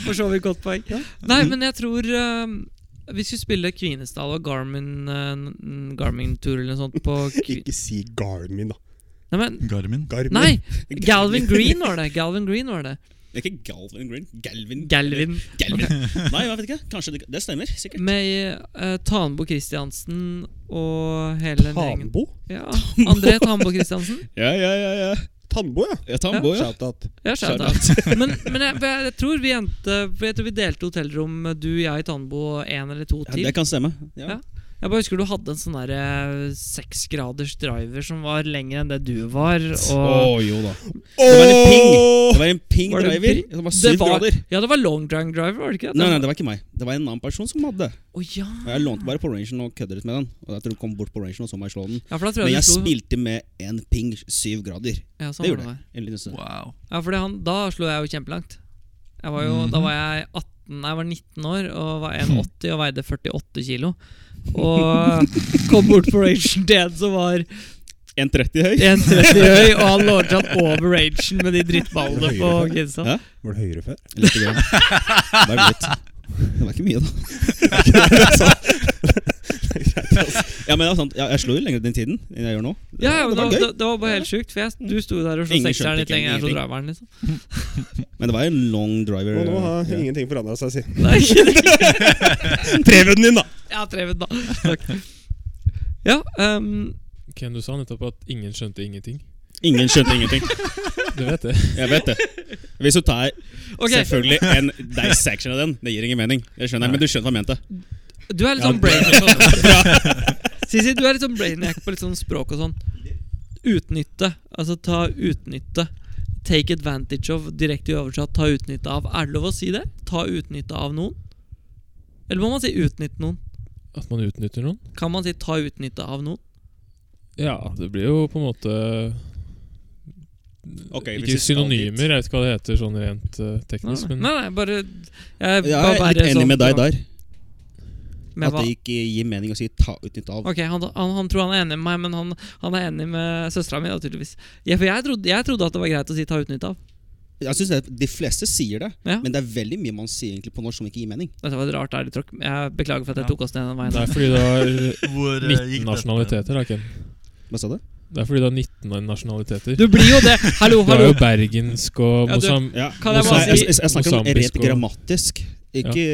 Speaker 2: For så vidt godt poeng. Nei, men jeg tror eh, vi skulle spille Kvinesdal og Garmin eh, Garmin Tour eller noe sånt på Kvi-
Speaker 1: Ikke si Garmin, da.
Speaker 2: Nei, men
Speaker 3: Garmin.
Speaker 1: Garmin.
Speaker 2: Nei! Galvin Green var det. Galvin Green var det.
Speaker 4: Det er ikke Galvin Green. Galvin.
Speaker 2: Galvin.
Speaker 4: Galvin. Nei, jeg vet ikke. Kanskje det, det stemmer. Sikkert.
Speaker 2: Med eh, Tanbo Christiansen og hele den gjengen.
Speaker 1: Tanbo?
Speaker 2: Ja, André Tanbo Christiansen.
Speaker 4: Ja, ja, ja. ja.
Speaker 1: Tannbo, ja.
Speaker 4: Jeg tar en bå, ja.
Speaker 1: Shout-out.
Speaker 2: Ja, shout-out. Men, men jeg, jeg, jeg tror vi endte for Jeg tror vi delte hotellrom, du, jeg, Tanbo og en eller to
Speaker 4: ja.
Speaker 2: til.
Speaker 4: Det kan stemme.
Speaker 2: Ja. Jeg bare husker du hadde en sånn derre seksgraders driver som var lengre enn det du var.
Speaker 4: Å
Speaker 2: Og
Speaker 4: jo da. Det var en ping. Det var en ping
Speaker 2: Var det en
Speaker 4: driver.
Speaker 2: ping?
Speaker 4: Det
Speaker 2: Det
Speaker 4: var syv
Speaker 2: var-
Speaker 4: grader.
Speaker 2: Ja, det var long drive driver, var det ikke?
Speaker 4: Nei, nei, det var ikke meg. Det var en annen person som hadde.
Speaker 2: Å, ja.
Speaker 4: Og Jeg lånte bare på rangen og kødder litt med den. Og jeg tror du kom bort på rangen og så meg slå den.
Speaker 2: ja, for da tror
Speaker 4: Men
Speaker 2: jeg, du
Speaker 4: jeg
Speaker 2: slo
Speaker 4: spilte med en ping syv grader.
Speaker 2: ja, sånn
Speaker 4: Det
Speaker 2: var
Speaker 4: gjorde jeg. En liten stund.
Speaker 3: Wow.
Speaker 2: Ja, for det han, da slo jeg jo kjempelangt. Jeg var jo,
Speaker 4: Mhm.
Speaker 2: Da var jeg 18, nei, jeg var 19 år og var 1,80 og veide 48 kilo. Og kom bort på rangen til en som var
Speaker 4: 1,30 høy.
Speaker 2: 1,30 høy, og han lodget han over rangen med de drittballene på
Speaker 1: Høyere.
Speaker 2: Grimstad.
Speaker 4: Ja.
Speaker 1: Var det høyere før?
Speaker 4: Lite grann. Bare litt. Det var ikke mye, da. altså. Ja, men det er sant. Jeg, jeg slo jo lenger den tiden enn jeg gjør nå.
Speaker 2: Ja, ja, men
Speaker 1: Det var
Speaker 2: det,
Speaker 1: gøy.
Speaker 2: det, det var bare helt sjukt, for jeg, du sto der og slo
Speaker 4: Ingen skjønte
Speaker 2: sekseren litt
Speaker 4: ikke
Speaker 2: lenger, jeg slo
Speaker 4: ingenting.
Speaker 2: driveren, liksom.
Speaker 4: Men det var en long driver.
Speaker 1: Og nå har
Speaker 4: ja.
Speaker 1: ingenting forandra seg, si.
Speaker 2: Nei,
Speaker 1: Treven din, da!
Speaker 2: jeg har trevet, da. Takk. Ja, ehm,
Speaker 5: Ken, du sa nettopp at ingen skjønte ingenting.
Speaker 4: Ingen skjønte ingenting.
Speaker 5: Du vet det.
Speaker 4: Jeg vet det. Hvis du tar
Speaker 2: ok.
Speaker 4: selvfølgelig en dissection av den, det gir ingen mening. Jeg skjønner, men du skjønner hva jeg mente.
Speaker 2: Du er litt
Speaker 4: Ja,
Speaker 2: sånn brainiac. Sisi, du er litt sånn brainiac på litt sånn språk og sånn. Utnytte. Altså ta utnytte. Take advantage of, direkte oversatt, ta utnytte av. Er det lov å si det? Ta utnytte av noen? Eller må man si utnytte noen?
Speaker 5: At man utnytter noen.
Speaker 2: Kan man si ta utnytte av noen?
Speaker 5: Ja, det blir jo på en måte
Speaker 4: Ok, hvis vi
Speaker 5: Ikke
Speaker 4: skal dit-
Speaker 5: synonymer, jeg vet ikke hva det heter sånn rent eh,
Speaker 2: Nei,
Speaker 5: teknisk,
Speaker 2: nei,
Speaker 5: men
Speaker 2: nei, nei bare Jeg,
Speaker 4: Jeg er litt enig med deg der.
Speaker 2: Men
Speaker 4: at
Speaker 2: hva-
Speaker 4: det ikke gir mening å si ta utnytt av.
Speaker 2: Ok, han, han, han tror han er enig med meg, men han, han er enig med søstera mi. da, tydeligvis. Ja, for jeg trodde, jeg trodde at det var greit å si 'ta utnytt av'.
Speaker 4: Jeg synes det, De fleste sier det,
Speaker 2: Ja.
Speaker 4: men det er veldig mye man sier egentlig på norsk som ikke gir mening.
Speaker 2: Dette var et rart ærlig tråkk. Jeg beklager for at jeg
Speaker 3: Ja.
Speaker 2: tok oss ned den veien.
Speaker 5: Det er fordi du har
Speaker 3: Hvor, eh, gikk
Speaker 5: 19
Speaker 3: dette?
Speaker 5: nasjonaliteter, da, Ken.
Speaker 4: Hva sa du?
Speaker 5: Det er fordi du har 19 nasjonaliteter.
Speaker 2: Du blir jo det! Hallo,
Speaker 5: Du har
Speaker 2: hallo!
Speaker 5: jo bergensk og
Speaker 2: Ja, du-
Speaker 5: Mosam...
Speaker 4: Ja.
Speaker 2: Kan jeg
Speaker 4: Mosa-
Speaker 2: bare si-
Speaker 4: jeg, jeg, jeg snakker om
Speaker 5: Mosambisk
Speaker 4: rett
Speaker 5: og-
Speaker 4: grammatisk, ikke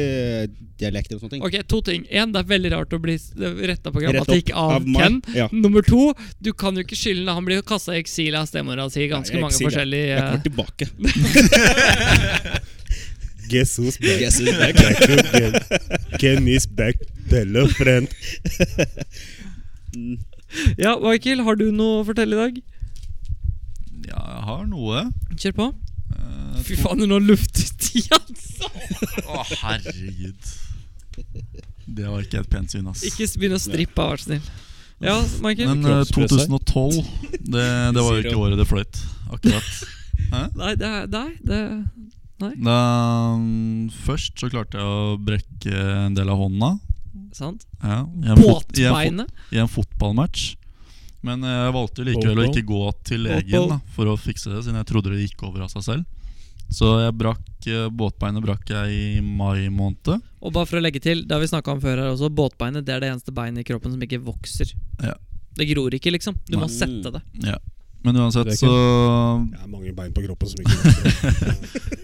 Speaker 4: dialekter og sånne ting.
Speaker 2: Ok, to ting. En, det er veldig rart å bli retta på
Speaker 4: Rett opp
Speaker 2: grammatikk av,
Speaker 4: meg.
Speaker 2: Ken.
Speaker 4: Ja.
Speaker 2: Nummer to, du kan jo ikke skylde Han blir jo kasta i eksil av stemora si i ganske
Speaker 4: Nei,
Speaker 2: mange
Speaker 4: eksil, ja.
Speaker 2: forskjellige
Speaker 4: Jeg kommer tilbake.
Speaker 1: Jesus back,
Speaker 4: Yes, it's back.
Speaker 1: back again. Ken is back, tell a friend.
Speaker 2: Ja, Michael, har du noe å fortelle i dag?
Speaker 3: Ja, jeg har noe.
Speaker 2: Kjør på.
Speaker 3: Eh,
Speaker 2: Fy faen, nå luftet de, altså!
Speaker 3: Å, herregud. Det var ikke et pent syn, ass.
Speaker 2: Ikke begynn å strippe, vær så snill. Ja, Michael?
Speaker 3: Men eh,
Speaker 5: Kroppspress her.
Speaker 3: 2012, det, det var jo
Speaker 5: Zero.
Speaker 3: ikke året det fløyt, akkurat. Hæ?
Speaker 2: Nei, det er Nei, det
Speaker 3: Da, mm, først så klarte jeg å brekke en del av hånda.
Speaker 2: er sant.
Speaker 3: Ja, i en fot- i en fot-
Speaker 2: Båtbeinet.
Speaker 3: I en fotballmatch. Men eh, jeg valgte jo likevel å
Speaker 5: Bobo.
Speaker 3: ikke gå til legen da, for å fikse det, siden jeg trodde det gikk over av seg selv. Så jeg brakk eh, båtbeinet brakk jeg i mai måned.
Speaker 2: Og bare for å legge til, det har vi snakka om før her også, båtbeinet det er det eneste beinet i kroppen som ikke vokser.
Speaker 3: Ja. Mm.
Speaker 2: Det gror ikke, liksom. Du må
Speaker 4: Nei.
Speaker 2: sette det.
Speaker 3: Ja. Men uansett
Speaker 5: Det er
Speaker 3: så
Speaker 1: Det er mange bein på kroppen som ikke vokser.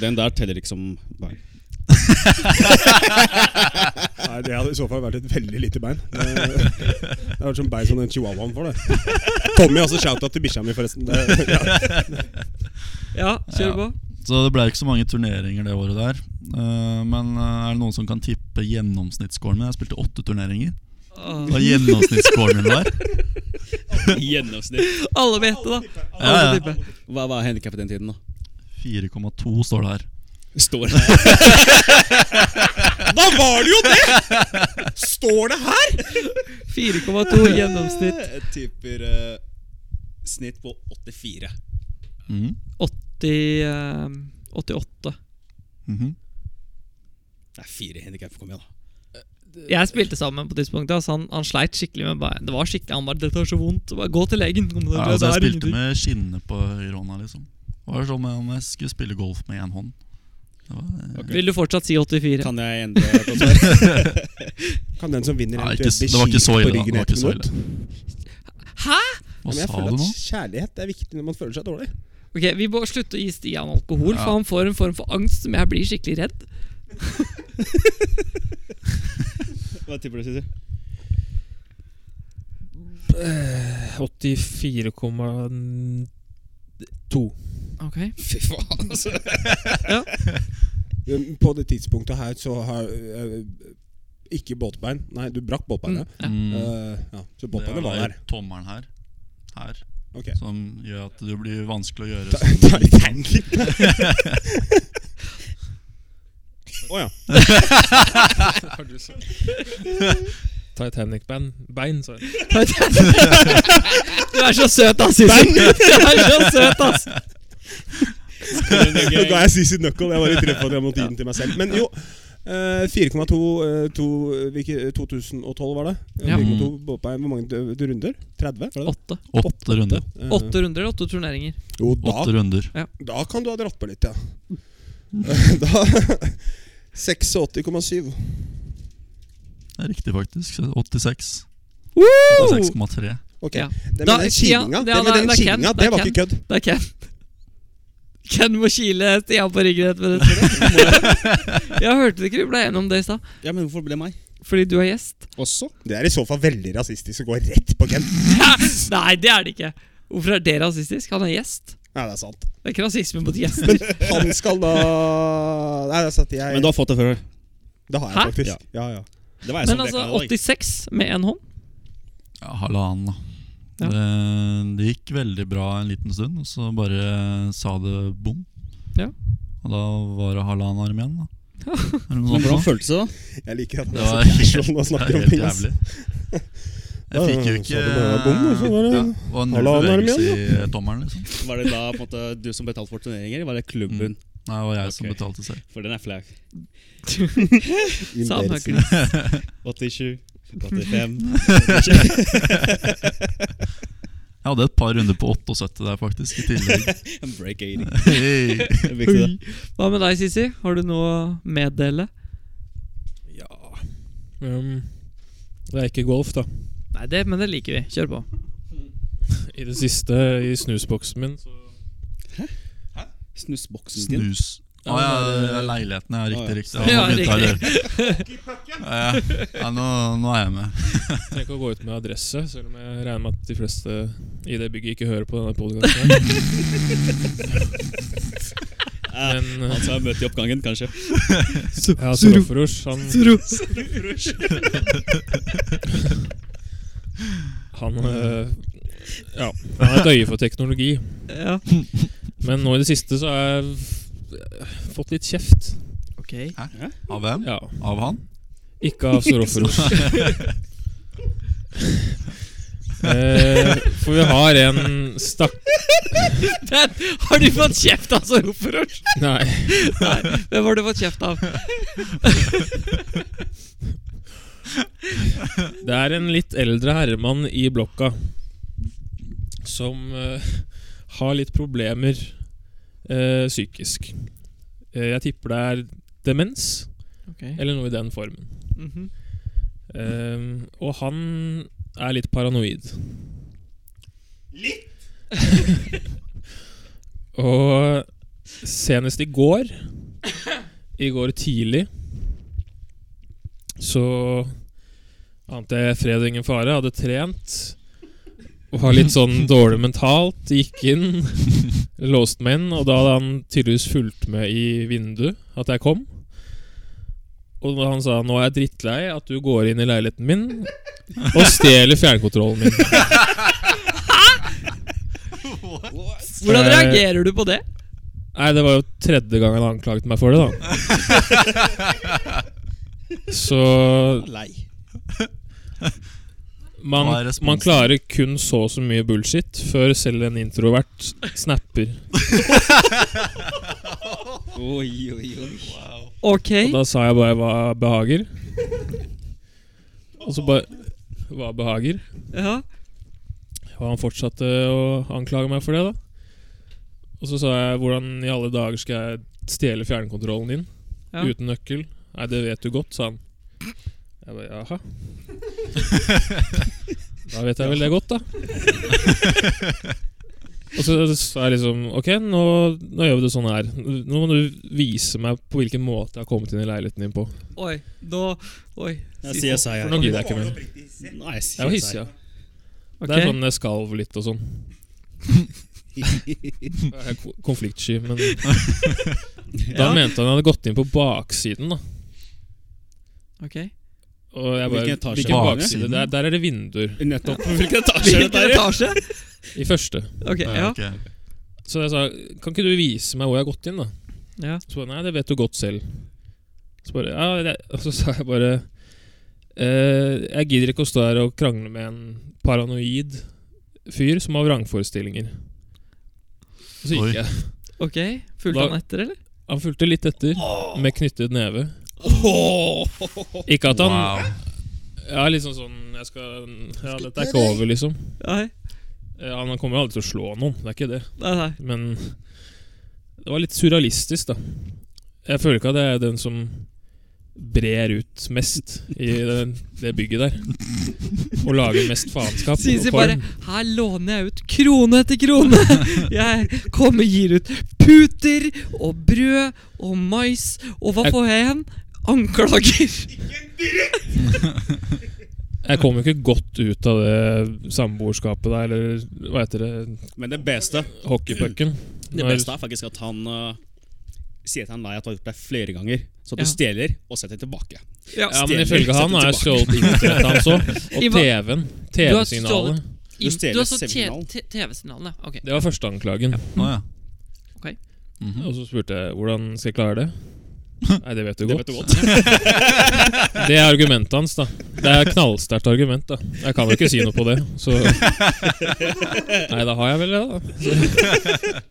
Speaker 4: Den der teller liksom ikke som bein.
Speaker 1: Nei, Det hadde i så fall vært et veldig lite bein. Det det hadde vært som bein som den chihuahuaen får, det. Tommy også shouta til bikkja mi, forresten. Det, ja.
Speaker 2: Ja, kjør
Speaker 3: Ja.
Speaker 2: på.
Speaker 3: Så det ble ikke så mange turneringer det året der. Eh, men eh, er det noen som kan tippe gjennomsnittsscoren min? Jeg spilte åtte turneringer.
Speaker 2: Åh.
Speaker 3: Hva gjennomsnittsscoren min var?
Speaker 4: Gjennomsnitt.
Speaker 2: Alle vil gjette, da.
Speaker 3: Ja,
Speaker 2: Alle
Speaker 3: ja.
Speaker 2: tipper.
Speaker 4: Hva var handikappet den tiden, da?
Speaker 3: 4,2 står det her.
Speaker 4: Står det
Speaker 1: Da var det jo det! Står det her?!
Speaker 2: 4,2 gjennomsnitt.
Speaker 4: Jeg tipper eh, snitt på 84.
Speaker 3: Mm.
Speaker 2: 80, eh, 88.
Speaker 3: Mhm.
Speaker 4: Det er fire handikap. Kom igjen, da.
Speaker 2: Jeg spilte sammen på tidspunktet. Altså han, han sleit skikkelig med bein. Det var skikkelig Han bare 'Dette er så vondt'. Bare, Gå til legen. Kom,
Speaker 3: ja,
Speaker 2: det- det
Speaker 3: altså, jeg
Speaker 2: er
Speaker 3: spilte
Speaker 2: ingenting.
Speaker 3: med skinnet på høyrehånda, liksom. Det var som om jeg skulle spille golf med én hånd. Det var, eh,
Speaker 4: Ok.
Speaker 2: Vil du fortsatt si 84?
Speaker 4: Kan jeg endre på det?
Speaker 1: Kan den som vinner,
Speaker 3: Nei, ikke
Speaker 1: eventuelt
Speaker 3: s-
Speaker 1: bli
Speaker 3: det var ikke
Speaker 1: kilt
Speaker 3: så
Speaker 1: på
Speaker 3: ille, da. Det
Speaker 1: ryggen
Speaker 3: var
Speaker 1: etter
Speaker 3: ikke så
Speaker 1: minutt?
Speaker 2: Hæ?!
Speaker 3: Hva
Speaker 1: Men jeg
Speaker 3: sa
Speaker 1: føler
Speaker 3: du nå?
Speaker 1: at kjærlighet er viktig når man føler seg dårlig.
Speaker 2: Ok, Vi må slutte å gi Stian alkohol,
Speaker 3: Ja.
Speaker 2: for han får en form for angst som jeg blir skikkelig redd.
Speaker 4: Hva tipper du, Sissy?
Speaker 5: 84,2.
Speaker 2: Ok
Speaker 4: Fy faen, altså.
Speaker 1: Um, På det tidspunktet her så har uh, ikke båtbein. Nei, du brakk båtbeinet.
Speaker 2: Mm.
Speaker 3: Mm.
Speaker 1: Uh, ja, så båtbeinet var
Speaker 3: jo
Speaker 1: der.
Speaker 3: tommelen her. Her.
Speaker 1: Ok.
Speaker 3: Som gjør at det blir vanskelig å gjøre
Speaker 1: Ta-
Speaker 3: sånn.
Speaker 1: Titanic. Å ja.
Speaker 5: Titanic-bein. Bein, sa jeg.
Speaker 2: Du er så søt, ass! Sissy. Du er så søt, ass!
Speaker 1: Nå ga jeg Sissy knuckle. Jeg var litt redd for at jeg måtte gi den til meg selv. Men jo. eh, 4,2 eh, to- eh, hvilke- 2012 var det. Eh,
Speaker 2: Ja. Mm.
Speaker 1: 4,2 båtbein. Hvor mange d- d- runder? 30? Var det det?
Speaker 2: Åtte.
Speaker 3: Åtte runder.
Speaker 1: Eh,
Speaker 2: Åtte runder eller åtte turneringer?
Speaker 1: Jo, da
Speaker 3: Åtte runder.
Speaker 1: Da kan du ha dratt på litt, ja. da 86,7.
Speaker 3: Det er riktig, faktisk. 86.
Speaker 2: Woo!
Speaker 3: 86,3.
Speaker 1: Ok.
Speaker 2: Ja.
Speaker 1: Det
Speaker 2: Da-
Speaker 1: med den
Speaker 2: Stian,
Speaker 1: kinninga,
Speaker 2: det
Speaker 1: det, med den
Speaker 2: er- det er Ken,
Speaker 1: kinninga,
Speaker 2: det
Speaker 1: det
Speaker 2: er
Speaker 1: var
Speaker 2: Ken.
Speaker 1: ikke kødd.
Speaker 2: Det er Ken. Ken må kile Stian på ryggen etter dette. Jeg hørte det ikke vi ble enige om det i stad.
Speaker 4: Ja, men hvorfor ble det meg?
Speaker 2: Fordi du er gjest?
Speaker 4: Også?
Speaker 1: Det er i så fall veldig rasistisk å gå rett på Ken.
Speaker 2: Nei, det er det ikke. Hvorfor er det rasistisk? Han er gjest.
Speaker 1: Nei, det er sant.
Speaker 2: Det er ikke rasisme mot gjester.
Speaker 1: Men han skal da Nei, det er sant. Jeg,
Speaker 4: Men du har fått det før.
Speaker 1: det har
Speaker 2: Hæ?
Speaker 1: jeg faktisk. Ja, ja.
Speaker 4: Det var jeg
Speaker 2: Men
Speaker 4: som
Speaker 2: altså,
Speaker 4: vekka deg.
Speaker 2: 86 med én hånd.
Speaker 3: Ja, halvannen, da.
Speaker 2: Ja.
Speaker 3: Det, det gikk veldig bra en liten stund, og så bare sa det bom.
Speaker 2: Ja.
Speaker 3: Og da var det halvannen arm igjen, da. Eller noe
Speaker 4: Men
Speaker 3: sånt
Speaker 4: hvordan
Speaker 3: nå.
Speaker 4: føltes det, da?
Speaker 1: Jeg liker at han
Speaker 3: Det
Speaker 1: er
Speaker 3: var
Speaker 1: så casual og
Speaker 3: helt,
Speaker 1: snakker om
Speaker 3: helt
Speaker 1: ting. ass.
Speaker 3: jævlig. Jeg fikk jo
Speaker 1: Ja, så
Speaker 3: ikke
Speaker 1: det bare bom, og så var det
Speaker 3: ja, og null
Speaker 1: halvannen arm
Speaker 3: bevegelse i tommelen, liksom.
Speaker 4: Var det da på en måte, du som betalte for turneringer? Var det klubben
Speaker 3: Nei, det var jeg som
Speaker 4: Ok.
Speaker 3: betalte selv.
Speaker 4: For den er flau.
Speaker 2: Samme
Speaker 4: Embarrassing. 87, 85
Speaker 3: Jeg hadde et par runder på 78 der, faktisk, i tillegg.
Speaker 4: Break 80.
Speaker 3: Hey.
Speaker 4: Det er viktig, da.
Speaker 2: Hva med deg, Sisi? Har du noe å meddele?
Speaker 5: Ja um, Det er ikke golf, da.
Speaker 2: Nei, det, men det liker vi. Kjør på.
Speaker 5: I det siste, i snusboksen min, så
Speaker 4: Snusboksen din.
Speaker 3: Snus. Å ja,
Speaker 1: eh,
Speaker 3: det er leiligheten. Ja, riktig, riktig.
Speaker 2: Ja,
Speaker 3: Ja, nå begynte jeg å
Speaker 2: riktig.
Speaker 3: lure. Ja, ja. ja nå, nå er jeg med.
Speaker 5: trenger ikke å gå ut med adresse, selv om jeg regner med at de fleste i det bygget ikke hører på denne podkasten.
Speaker 4: Ah,
Speaker 5: Men eh,
Speaker 4: Han sa jeg møtte i oppgangen, kanskje.
Speaker 5: Ja, Soroforos, han, han øh, Ja, han har et øye for teknologi.
Speaker 2: Ja.
Speaker 5: Men nå i det siste så har jeg f- fått litt kjeft.
Speaker 2: Ok.
Speaker 3: Av hvem?
Speaker 5: Ja.
Speaker 3: Av han?
Speaker 5: Ikke av Soroforos. eh, for vi har en stakk...
Speaker 2: Men, har du fått kjeft altså? av Soroforos?
Speaker 5: Nei.
Speaker 2: Nei, hvem har du fått kjeft av?
Speaker 5: Det er en litt eldre herremann i blokka som eh, har litt problemer eh, psykisk. Eh, jeg tipper det er demens, eller noe i den formen.
Speaker 2: Mhm.
Speaker 5: Eh, og han er litt paranoid. Litt? og senest i går, i går tidlig, så ante jeg fred og ingen fare. Hadde trent. Var litt sånn dårlig mentalt. Gikk inn, låste meg inn, og da hadde han tydeligvis fulgt med i vinduet at jeg kom. Og da han sa 'nå er jeg drittlei at du går inn i leiligheten min og stjeler fjernkontrollen min'.
Speaker 2: Hvordan
Speaker 5: Eh,
Speaker 2: reagerer du på det?
Speaker 5: Nei, det var jo tredje gang han anklaget meg for det, da. Så
Speaker 4: Lei.
Speaker 3: Hva er
Speaker 5: Man,
Speaker 3: responsen?
Speaker 5: man klarer kun så og så mye bullshit før selv en introvert snapper.
Speaker 4: Oi, oi, oi.
Speaker 2: Ok.
Speaker 5: Og da sa jeg bare hva behager. Og så bare Hva behager?
Speaker 2: Ja.
Speaker 5: Og han fortsatte å anklage meg for det, da. Og så sa jeg hvordan i alle dager skal jeg stjele fjernkontrollen din
Speaker 2: Ja.
Speaker 5: uten nøkkel? Nei, det vet du godt, sa han. Jeg bare jaha. Da vet jeg vel det godt, da. Og så sa jeg liksom Ok, nå, nå gjør vi det sånn her. Nå må du vise meg på hvilken måte jeg har kommet inn i leiligheten din på.
Speaker 2: Oi. Nå Oi.
Speaker 4: Jeg sier sa
Speaker 5: For
Speaker 4: jeg.
Speaker 5: nå gidder jeg ikke mer.
Speaker 4: Nei, jeg
Speaker 5: Jeg var
Speaker 4: sier
Speaker 5: hissig, ja.
Speaker 2: Ok.
Speaker 5: Det er sånn jeg skalv litt og sånn. Jeg er ko- konfliktsky, men Da
Speaker 2: Ja.
Speaker 5: mente han hadde gått inn på baksiden, da.
Speaker 2: Ok.
Speaker 5: Og jeg bare,
Speaker 4: Hvilken etasje
Speaker 5: Hvilken
Speaker 3: var det?
Speaker 5: bakside? Der, der er det vinduer.
Speaker 4: Nettopp. Hvilken etasje er
Speaker 2: Hvilken
Speaker 4: dette her? ja?
Speaker 2: etasje?
Speaker 5: I første.
Speaker 2: Ok, ja.
Speaker 3: ok.
Speaker 5: Så jeg sa Kan ikke du vise meg hvor jeg har gått inn, da?
Speaker 2: ja.
Speaker 5: Så bare, Nei, det vet du godt selv. Så bare, ja, det, og så sa jeg bare eh, Jeg gidder ikke å stå her og krangle med en paranoid fyr som har vrangforestillinger. Og så
Speaker 3: Oi.
Speaker 5: gikk jeg.
Speaker 2: Ok. Fulgte
Speaker 5: Da-
Speaker 2: han etter, eller?
Speaker 5: Han fulgte litt etter, med knyttet neve. Ikke at han
Speaker 3: Wow.
Speaker 5: Ja, liksom sånn jeg skal, Ja, dette er ikke over, liksom.
Speaker 2: Nei.
Speaker 5: Eh, Han kommer jo aldri til å slå noen, det er ikke det.
Speaker 2: Nei, nei.
Speaker 5: Men det var litt surrealistisk, da. Jeg føler ikke at jeg er den som brer ut mest i det, det bygget der. Og lager mest faenskap.
Speaker 2: Sisi
Speaker 5: og
Speaker 2: bare
Speaker 5: form.
Speaker 2: Her låner jeg ut krone etter krone. Jeg kommer gir ut puter og brød og mais, og hva
Speaker 5: Jeg-
Speaker 2: får jeg igjen? Anklager.
Speaker 5: Jeg kom jo ikke godt ut av det samboerskapet der, eller hva heter det,
Speaker 4: Men det beste
Speaker 5: hockeypucken.
Speaker 4: Det beste er faktisk at han eh, sier til han nei at du har gjort det flere ganger. Så du
Speaker 2: Ja.
Speaker 4: stjeler og setter tilbake.
Speaker 2: Ja,
Speaker 5: Ja, men
Speaker 4: Stjeler,
Speaker 5: ifølge han har jeg
Speaker 4: setter
Speaker 5: stjålet internettet hans òg. Og
Speaker 2: Iva-
Speaker 5: TV-en.
Speaker 2: Du har
Speaker 5: TV-signalet.
Speaker 2: Im-
Speaker 4: stjeler
Speaker 2: du har så
Speaker 4: signal.
Speaker 2: TV-signalene. Ok.
Speaker 5: Det var første anklagen.
Speaker 3: Å ja.
Speaker 2: Ok.
Speaker 3: Mhm.
Speaker 5: Og så spurte jeg hvordan skal jeg klare det.
Speaker 2: Mhm.
Speaker 5: Nei, det vet du
Speaker 4: Det vet
Speaker 5: godt.
Speaker 4: du godt.
Speaker 5: Det er argumentet hans, da. Det er knallsterkt argument, da. Jeg kan jo ikke si noe på det, så Nei, da har jeg vel det, da. Så.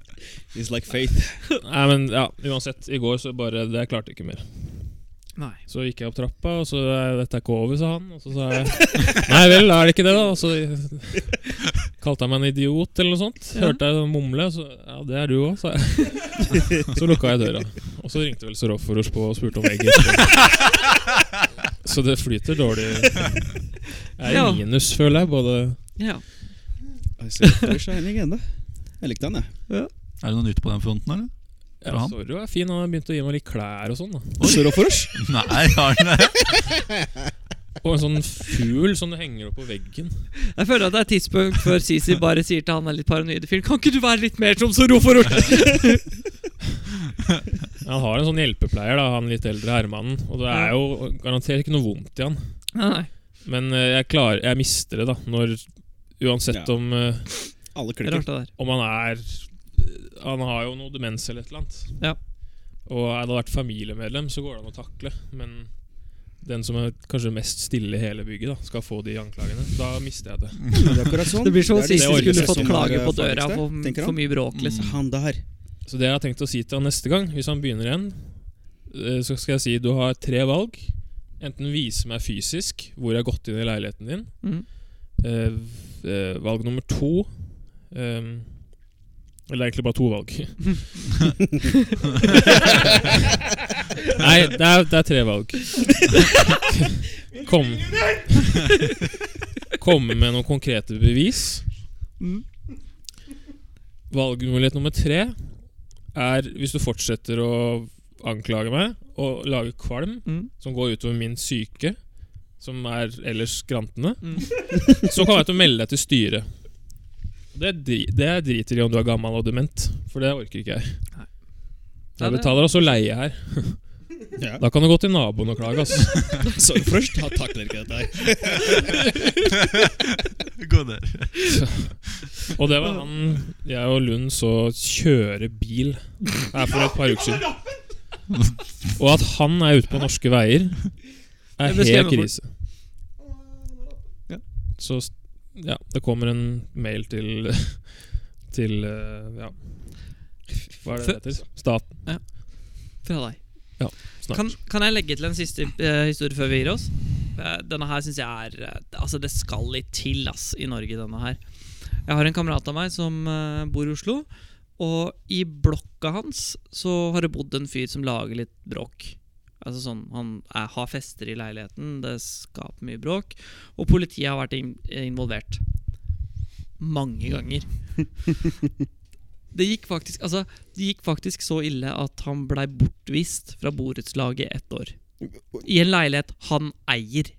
Speaker 4: It's like faith.
Speaker 5: Nei, men ja, uansett. I går så bare Det jeg klarte ikke mer.
Speaker 2: Nei.
Speaker 5: Så gikk jeg opp trappa, og så er dette er ikke over, sa han. Og så sa jeg nei vel, er det ikke det, da? Og så kalte han meg en idiot eller noe sånt.
Speaker 2: Ja.
Speaker 5: Hørte jeg sånn mumle, og så ja, det er du òg, sa jeg. Så lukka jeg døra. Og så ringte vel Soroforos på og spurte om egg. Så det flyter dårlig. Jeg er
Speaker 2: Ja.
Speaker 5: i minus, føler jeg. Både
Speaker 2: Ja.
Speaker 4: I see the shining ende. Jeg likte den, jeg.
Speaker 3: Er det noe nytt på den fronten, eller?
Speaker 5: ja,
Speaker 3: han?
Speaker 5: Zorro er fin, han har begynt å gi meg litt klær og sånn. da
Speaker 4: Sørofors?
Speaker 3: Nei, har den det?
Speaker 5: Og en sånn fugl som du henger opp på veggen.
Speaker 2: Jeg føler at det er et tidspunkt før Sisi bare sier til han er litt paranoide fyren Kan ikke du være litt mer som Soroforort?
Speaker 5: Han har en sånn hjelpepleier, da, han litt eldre herremannen. Og det er jo garantert ikke noe vondt i han.
Speaker 2: Nei.
Speaker 5: Men eh, jeg, klarer, jeg mister det, da. Når, uansett
Speaker 4: Ja.
Speaker 5: om, eh,
Speaker 2: Det
Speaker 4: Alle
Speaker 2: er
Speaker 4: klikker.
Speaker 2: Rart det der.
Speaker 5: om han er Han har jo noe demens eller et eller annet.
Speaker 2: Ja.
Speaker 5: Og hadde han vært familiemedlem, så går det an å takle. Men den som er kanskje mest stille i hele bygget, da skal få de anklagene. Da mister jeg det.
Speaker 4: Det er akkurat sånn.
Speaker 2: Det blir som om
Speaker 4: er de
Speaker 2: Sisi
Speaker 5: det
Speaker 2: skulle
Speaker 1: sånn
Speaker 4: som
Speaker 2: fått
Speaker 4: er
Speaker 2: klage på
Speaker 4: farligste,
Speaker 2: døra for,
Speaker 4: tenker han.
Speaker 2: for mye bråk, liksom.
Speaker 4: Han der.
Speaker 5: Så det jeg har tenkt å si til han neste gang, hvis han begynner igjen, eh, så skal jeg si du har tre valg. Enten vise meg fysisk hvor jeg har gått inn i leiligheten din.
Speaker 2: Mm.
Speaker 5: Eh, eh, valg nummer to ehm, Eller egentlig bare to valg. Nei, det er, det er tre valg. Kom Komme med noen konkrete bevis.
Speaker 2: Mm.
Speaker 5: Valgmulighet nummer tre er hvis du fortsetter å anklage meg og lage kvalm
Speaker 2: Mm.
Speaker 5: som går utover min syke, som er ellers skrantende,
Speaker 2: Mm.
Speaker 5: så kommer jeg til å melde deg til styret. Og Det, dri- det jeg driter i om du er gammel og dement, for det orker ikke jeg.
Speaker 2: Nei. Ja,
Speaker 5: Jeg
Speaker 2: det-
Speaker 5: betaler også leie her.
Speaker 4: Ja.
Speaker 5: Da kan du gå til naboen og klage. Ass.
Speaker 4: Sørofors han takler ikke dette her.
Speaker 3: Gå der.
Speaker 5: Og det var han jeg og Lund så kjøre bil her for et par uker siden. Og at han er ute på norske veier,
Speaker 2: Jeg
Speaker 5: er
Speaker 2: ble
Speaker 5: helt
Speaker 2: skrevet bort.
Speaker 5: krise. Så s- ja, det kommer en mail til Til eh, ja. Hva er det det heter? Staten
Speaker 2: Fra deg.
Speaker 5: snart.
Speaker 2: Kan, kan jeg legge til en siste eh, historie før vi gir oss? Eh, denne her syns jeg er eh, Altså, det skal litt til ass, i Norge, denne her. Jeg har en kamerat av meg som eh, bor i Oslo. Og i blokka hans så har det bodd en fyr som lager litt bråk. Altså sånn, Han er, har fester i leiligheten, det skaper mye bråk. Og politiet har vært in involvert. Mange ganger. Det gikk faktisk Altså det gikk faktisk så ille at han blei bortvist fra borettslaget ett år. I en leilighet han eier.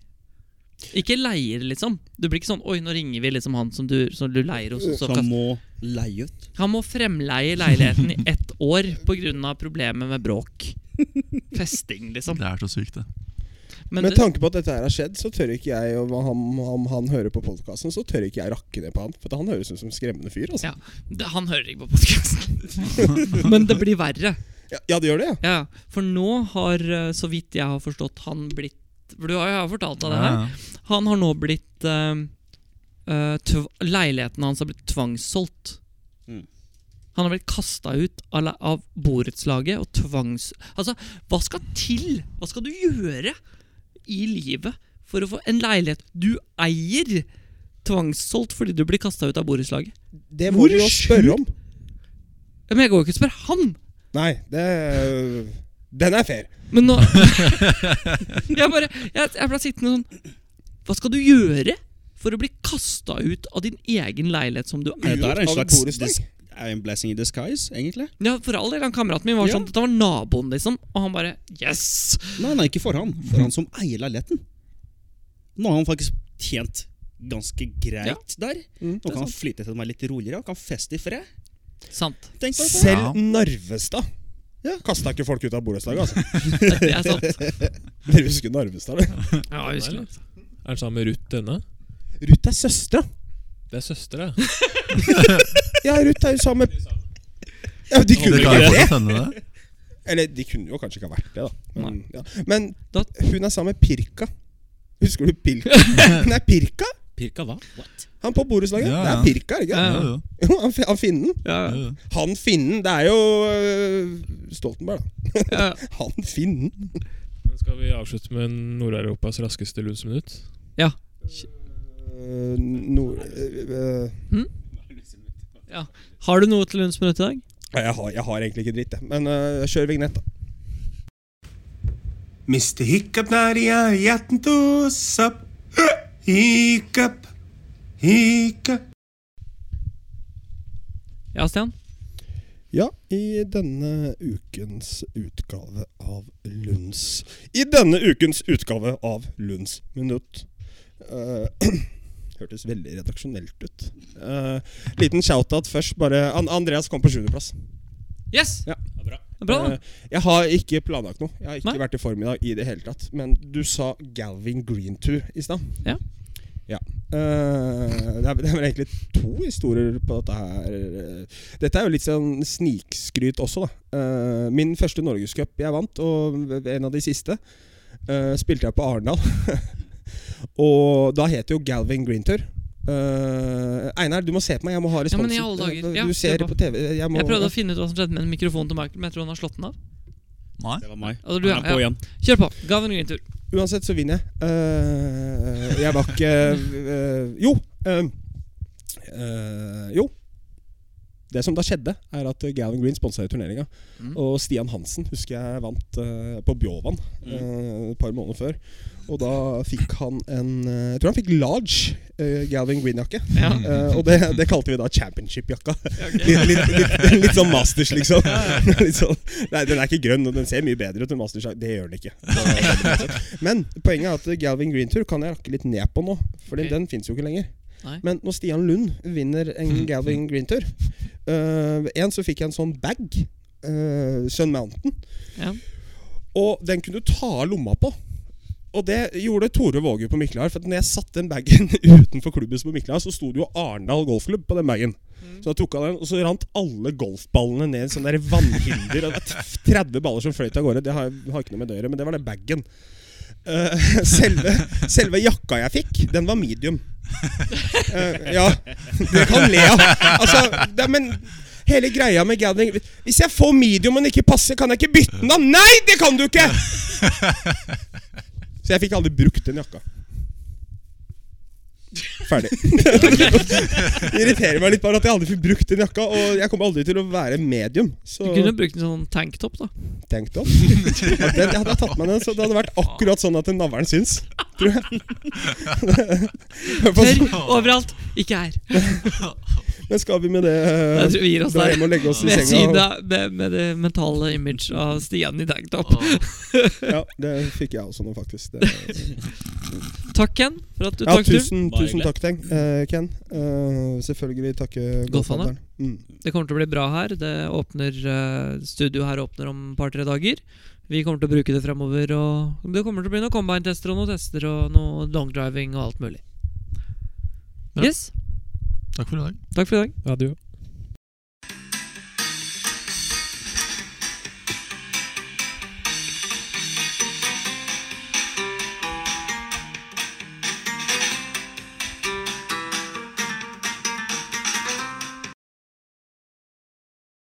Speaker 2: Ikke leier, liksom. Du blir ikke sånn 'oi, nå ringer vi liksom han som du, som du leier hos'. og så
Speaker 4: Så han må leie ut.
Speaker 2: han må fremleie leiligheten i ett år pga. problemet med bråk. Festing, liksom.
Speaker 3: Det er så sykt, det.
Speaker 2: Men
Speaker 1: Med
Speaker 2: det,
Speaker 1: tanke på at dette her har skjedd, så tør ikke jeg og han, han, han hører på podkasten, så tør ikke jeg rakke ned på han. For han høres ut som en skremmende fyr. altså.
Speaker 2: ja, det, han hører ikke på podkasten. Men det blir verre.
Speaker 1: Ja, ja det gjør det, ja.
Speaker 2: Ja, for nå har, eh, så vidt jeg har forstått, han blitt For du har jo fortalt deg det her.
Speaker 3: Ja,
Speaker 2: Han har nå blitt eh, eh, tv Leiligheten hans har blitt tvangssolgt.
Speaker 4: Mm.
Speaker 2: Han har blitt kasta ut av, le- av borettslaget og tvangs... Altså, hva skal til? Hva skal du gjøre i livet for å få en leilighet du eier, tvangssolgt fordi du blir kasta ut av borettslaget?
Speaker 1: Det må
Speaker 2: Hvor
Speaker 1: du jo
Speaker 2: sjukt?
Speaker 1: spørre om.
Speaker 2: Men jeg går jo ikke og spør han!
Speaker 1: Nei, det Den er fair.
Speaker 2: Men nå Jeg bare Jeg, jeg ble sittende sånn Hva skal du gjøre for å bli kasta ut av din egen leilighet som du eier?
Speaker 4: Dette er en
Speaker 1: Av
Speaker 4: slags
Speaker 1: borettslag?
Speaker 4: dis- er en blessing in disguise, egentlig.
Speaker 2: Ja, for all del, han kameraten min var
Speaker 4: Ja.
Speaker 2: sånn Dette var naboen liksom Og han bare, yes
Speaker 4: Nei, nei, ikke for han. For han som eier leiligheten. Nå har han faktisk tjent ganske greit der.
Speaker 1: Mm,
Speaker 4: Nå kan han flytte til meg litt roligere og kan feste i fred.
Speaker 2: Sant,
Speaker 4: Tenk bare på det.
Speaker 1: Selv Narvestad
Speaker 4: Ja.
Speaker 1: kasta ikke folk ut av borettslaget, altså.
Speaker 2: det er sant
Speaker 1: Dere husker Narvestad, eller?
Speaker 2: Ja,
Speaker 5: Er
Speaker 2: husker
Speaker 5: det han sammen med Ruth denne?
Speaker 1: Ruth er søstera.
Speaker 5: Det er søstera. ja.
Speaker 1: Ja, Ruth er jo sammen med ja, De kunne
Speaker 3: det
Speaker 1: jo
Speaker 3: kan
Speaker 1: ikke
Speaker 3: jo
Speaker 1: det!
Speaker 3: fort hende, det.
Speaker 1: Eller de kunne jo kanskje ikke ha vært det, da. Men,
Speaker 2: Nei.
Speaker 1: ja. Men
Speaker 2: Da-
Speaker 1: hun er sammen med Pirka. Husker du Pilka? Hun er Pirka!
Speaker 6: Pirka hva? What?
Speaker 1: Han på borettslaget.
Speaker 3: Ja,
Speaker 1: Det
Speaker 3: ja.
Speaker 1: er Pirka, er det ikke?
Speaker 2: Ja.
Speaker 3: Jo, jo.
Speaker 1: Jo, han, fi- han finnen.
Speaker 6: Ja,
Speaker 3: Jo, jo.
Speaker 1: Han finnen. Det er jo øh, Stoltenberg, da.
Speaker 2: Ja.
Speaker 1: Han finnen.
Speaker 5: Skal vi avslutte med Nord-Europas raskeste luseminutt?
Speaker 1: Øh, nord... øh, øh,
Speaker 2: Har du noe til lunsjminutt i dag?
Speaker 1: Nei, jeg har, jeg har egentlig ikke dritt, jeg. Men øh, kjør vignett, da.
Speaker 7: Mr. Hiccup Nadia, hjerten to sopp. Hiccup, hiccup.
Speaker 2: Ja, Stian?
Speaker 1: Ja, i denne ukens utgave av Lunds I denne ukens utgave av Lunds minutt. Eh, hørtes veldig redaksjonelt ut. Eh, liten shout-out først. bare An Andreas kom på sjuendeplass.
Speaker 2: Yes!
Speaker 1: Ja.
Speaker 2: Bra, da.
Speaker 1: Eh, jeg har ikke planlagt noe. Jeg har ikke
Speaker 2: Nei.
Speaker 1: vært i form i dag i det hele tatt. Men du sa Galvin Green Tour i stad.
Speaker 2: Ja.
Speaker 1: Ja. Eh, det, er, det er vel egentlig to historier på dette her. Dette er jo litt sånn snikskryt også, da. Eh, min første Norgescup jeg vant, og en av de siste, eh, spilte jeg på Arendal. og da het det jo Galvin Green Tour. Eh, Einar, du må se på meg. Jeg må ha
Speaker 2: Ja, men
Speaker 1: responsen.
Speaker 2: i alle dager.
Speaker 1: Eh,
Speaker 2: Ja,
Speaker 1: du ser
Speaker 2: se på.
Speaker 1: på TV. Jeg, må,
Speaker 2: Jeg prøvde å finne ut hva som skjedde med mikrofonen til Michael, men jeg tror han har slått den av.
Speaker 3: Nei.
Speaker 4: Det var meg.
Speaker 2: Altså, du,
Speaker 4: Han er på
Speaker 2: ja.
Speaker 4: igjen.
Speaker 2: Kjør på. Gav en green tur.
Speaker 1: Uansett så vinner jeg. Eh, jeg var ikke eh, Jo. eh, eh, jo. Det som da skjedde, er at Gavin Green sponsa turneringa.
Speaker 2: Mm.
Speaker 1: Og Stian Hansen husker jeg vant eh, på Bjåvann eh, et par måneder før. Og da fikk han en eh, Jeg tror han fikk large eh, Galvin Green-jakke.
Speaker 2: Ja.
Speaker 1: Eh, og det, det kalte vi da championship-jakka. Litt, litt, litt, litt sånn Masters, liksom. litt sånn, nei, den er ikke grønn, og den ser mye bedre ut enn Masters. Det gjør den ikke. Men poenget er at Galvin Green Tour kan jeg rakke litt ned på nå, for
Speaker 2: Ok.
Speaker 1: den fins jo ikke lenger.
Speaker 2: Nei.
Speaker 1: Men når Stian Lund vinner en Galvin Green Tour Én så fikk jeg en sånn bag, eh, Sun Mountain,
Speaker 2: Ja.
Speaker 1: og den kunne du ta av lomma på. Og det gjorde Tore Våge på Mikkelhard. For at når jeg satte den bagen utenfor klubben, som på Mikkelhard, så sto det jo Arendal golfklubb på den bagen. Så jeg tok av den, og så rant alle golfballene ned i sånne der vannhinder. Og det var 30 baller som fløyt av gårde. Det har, har ikke noe med det å gjøre, men det var den bagen. Eh, selve, selve jakka jeg fikk, den var medium. Eh, ja, dere kan le av. Altså, det, men hele greia med gathering Hvis jeg får medium og den ikke passer, kan jeg ikke bytte den av? Nei, det kan du ikke! Så jeg fikk aldri brukt den jakka. Ferdig. det irriterer meg litt bare at jeg aldri fikk brukt den jakka, og jeg kommer aldri til å være medium.
Speaker 2: Du
Speaker 1: Så
Speaker 2: kunne jo brukt en sånn tanktop, da.
Speaker 1: tenk deg om. Ja, den, jeg hadde tatt meg den, så det hadde vært akkurat sånn at navlen syns. Tror jeg.
Speaker 2: Tørr overalt, ikke her.
Speaker 1: Men skal vi med det eh,
Speaker 2: Jeg tror vi gir oss
Speaker 1: dra
Speaker 2: der.
Speaker 1: hjem og legge oss i
Speaker 2: Med,
Speaker 1: senga?
Speaker 2: sida, med, med det mentale imaget av Stian i tanktop.
Speaker 1: Ja, det fikk jeg også nå, faktisk. Det,
Speaker 2: Takk, Ken, for at du
Speaker 1: ja,
Speaker 2: tok turen.
Speaker 1: tusen,
Speaker 6: Bare
Speaker 1: tusen takk, Teng. Eh, Ken. Eh, selvfølgelig takke
Speaker 2: Golfhandleren.
Speaker 1: Mm.
Speaker 2: Det kommer til å bli bra her. Det åpner eh, Studio her åpner om et par-tre dager. Vi kommer til å bruke det fremover. Og det kommer til å bli noen combine-tester og noen tester og noe longdriving og alt mulig.
Speaker 3: Bra.
Speaker 2: Yes.
Speaker 3: Takk for i dag.
Speaker 2: Takk for i dag.
Speaker 5: Adjø.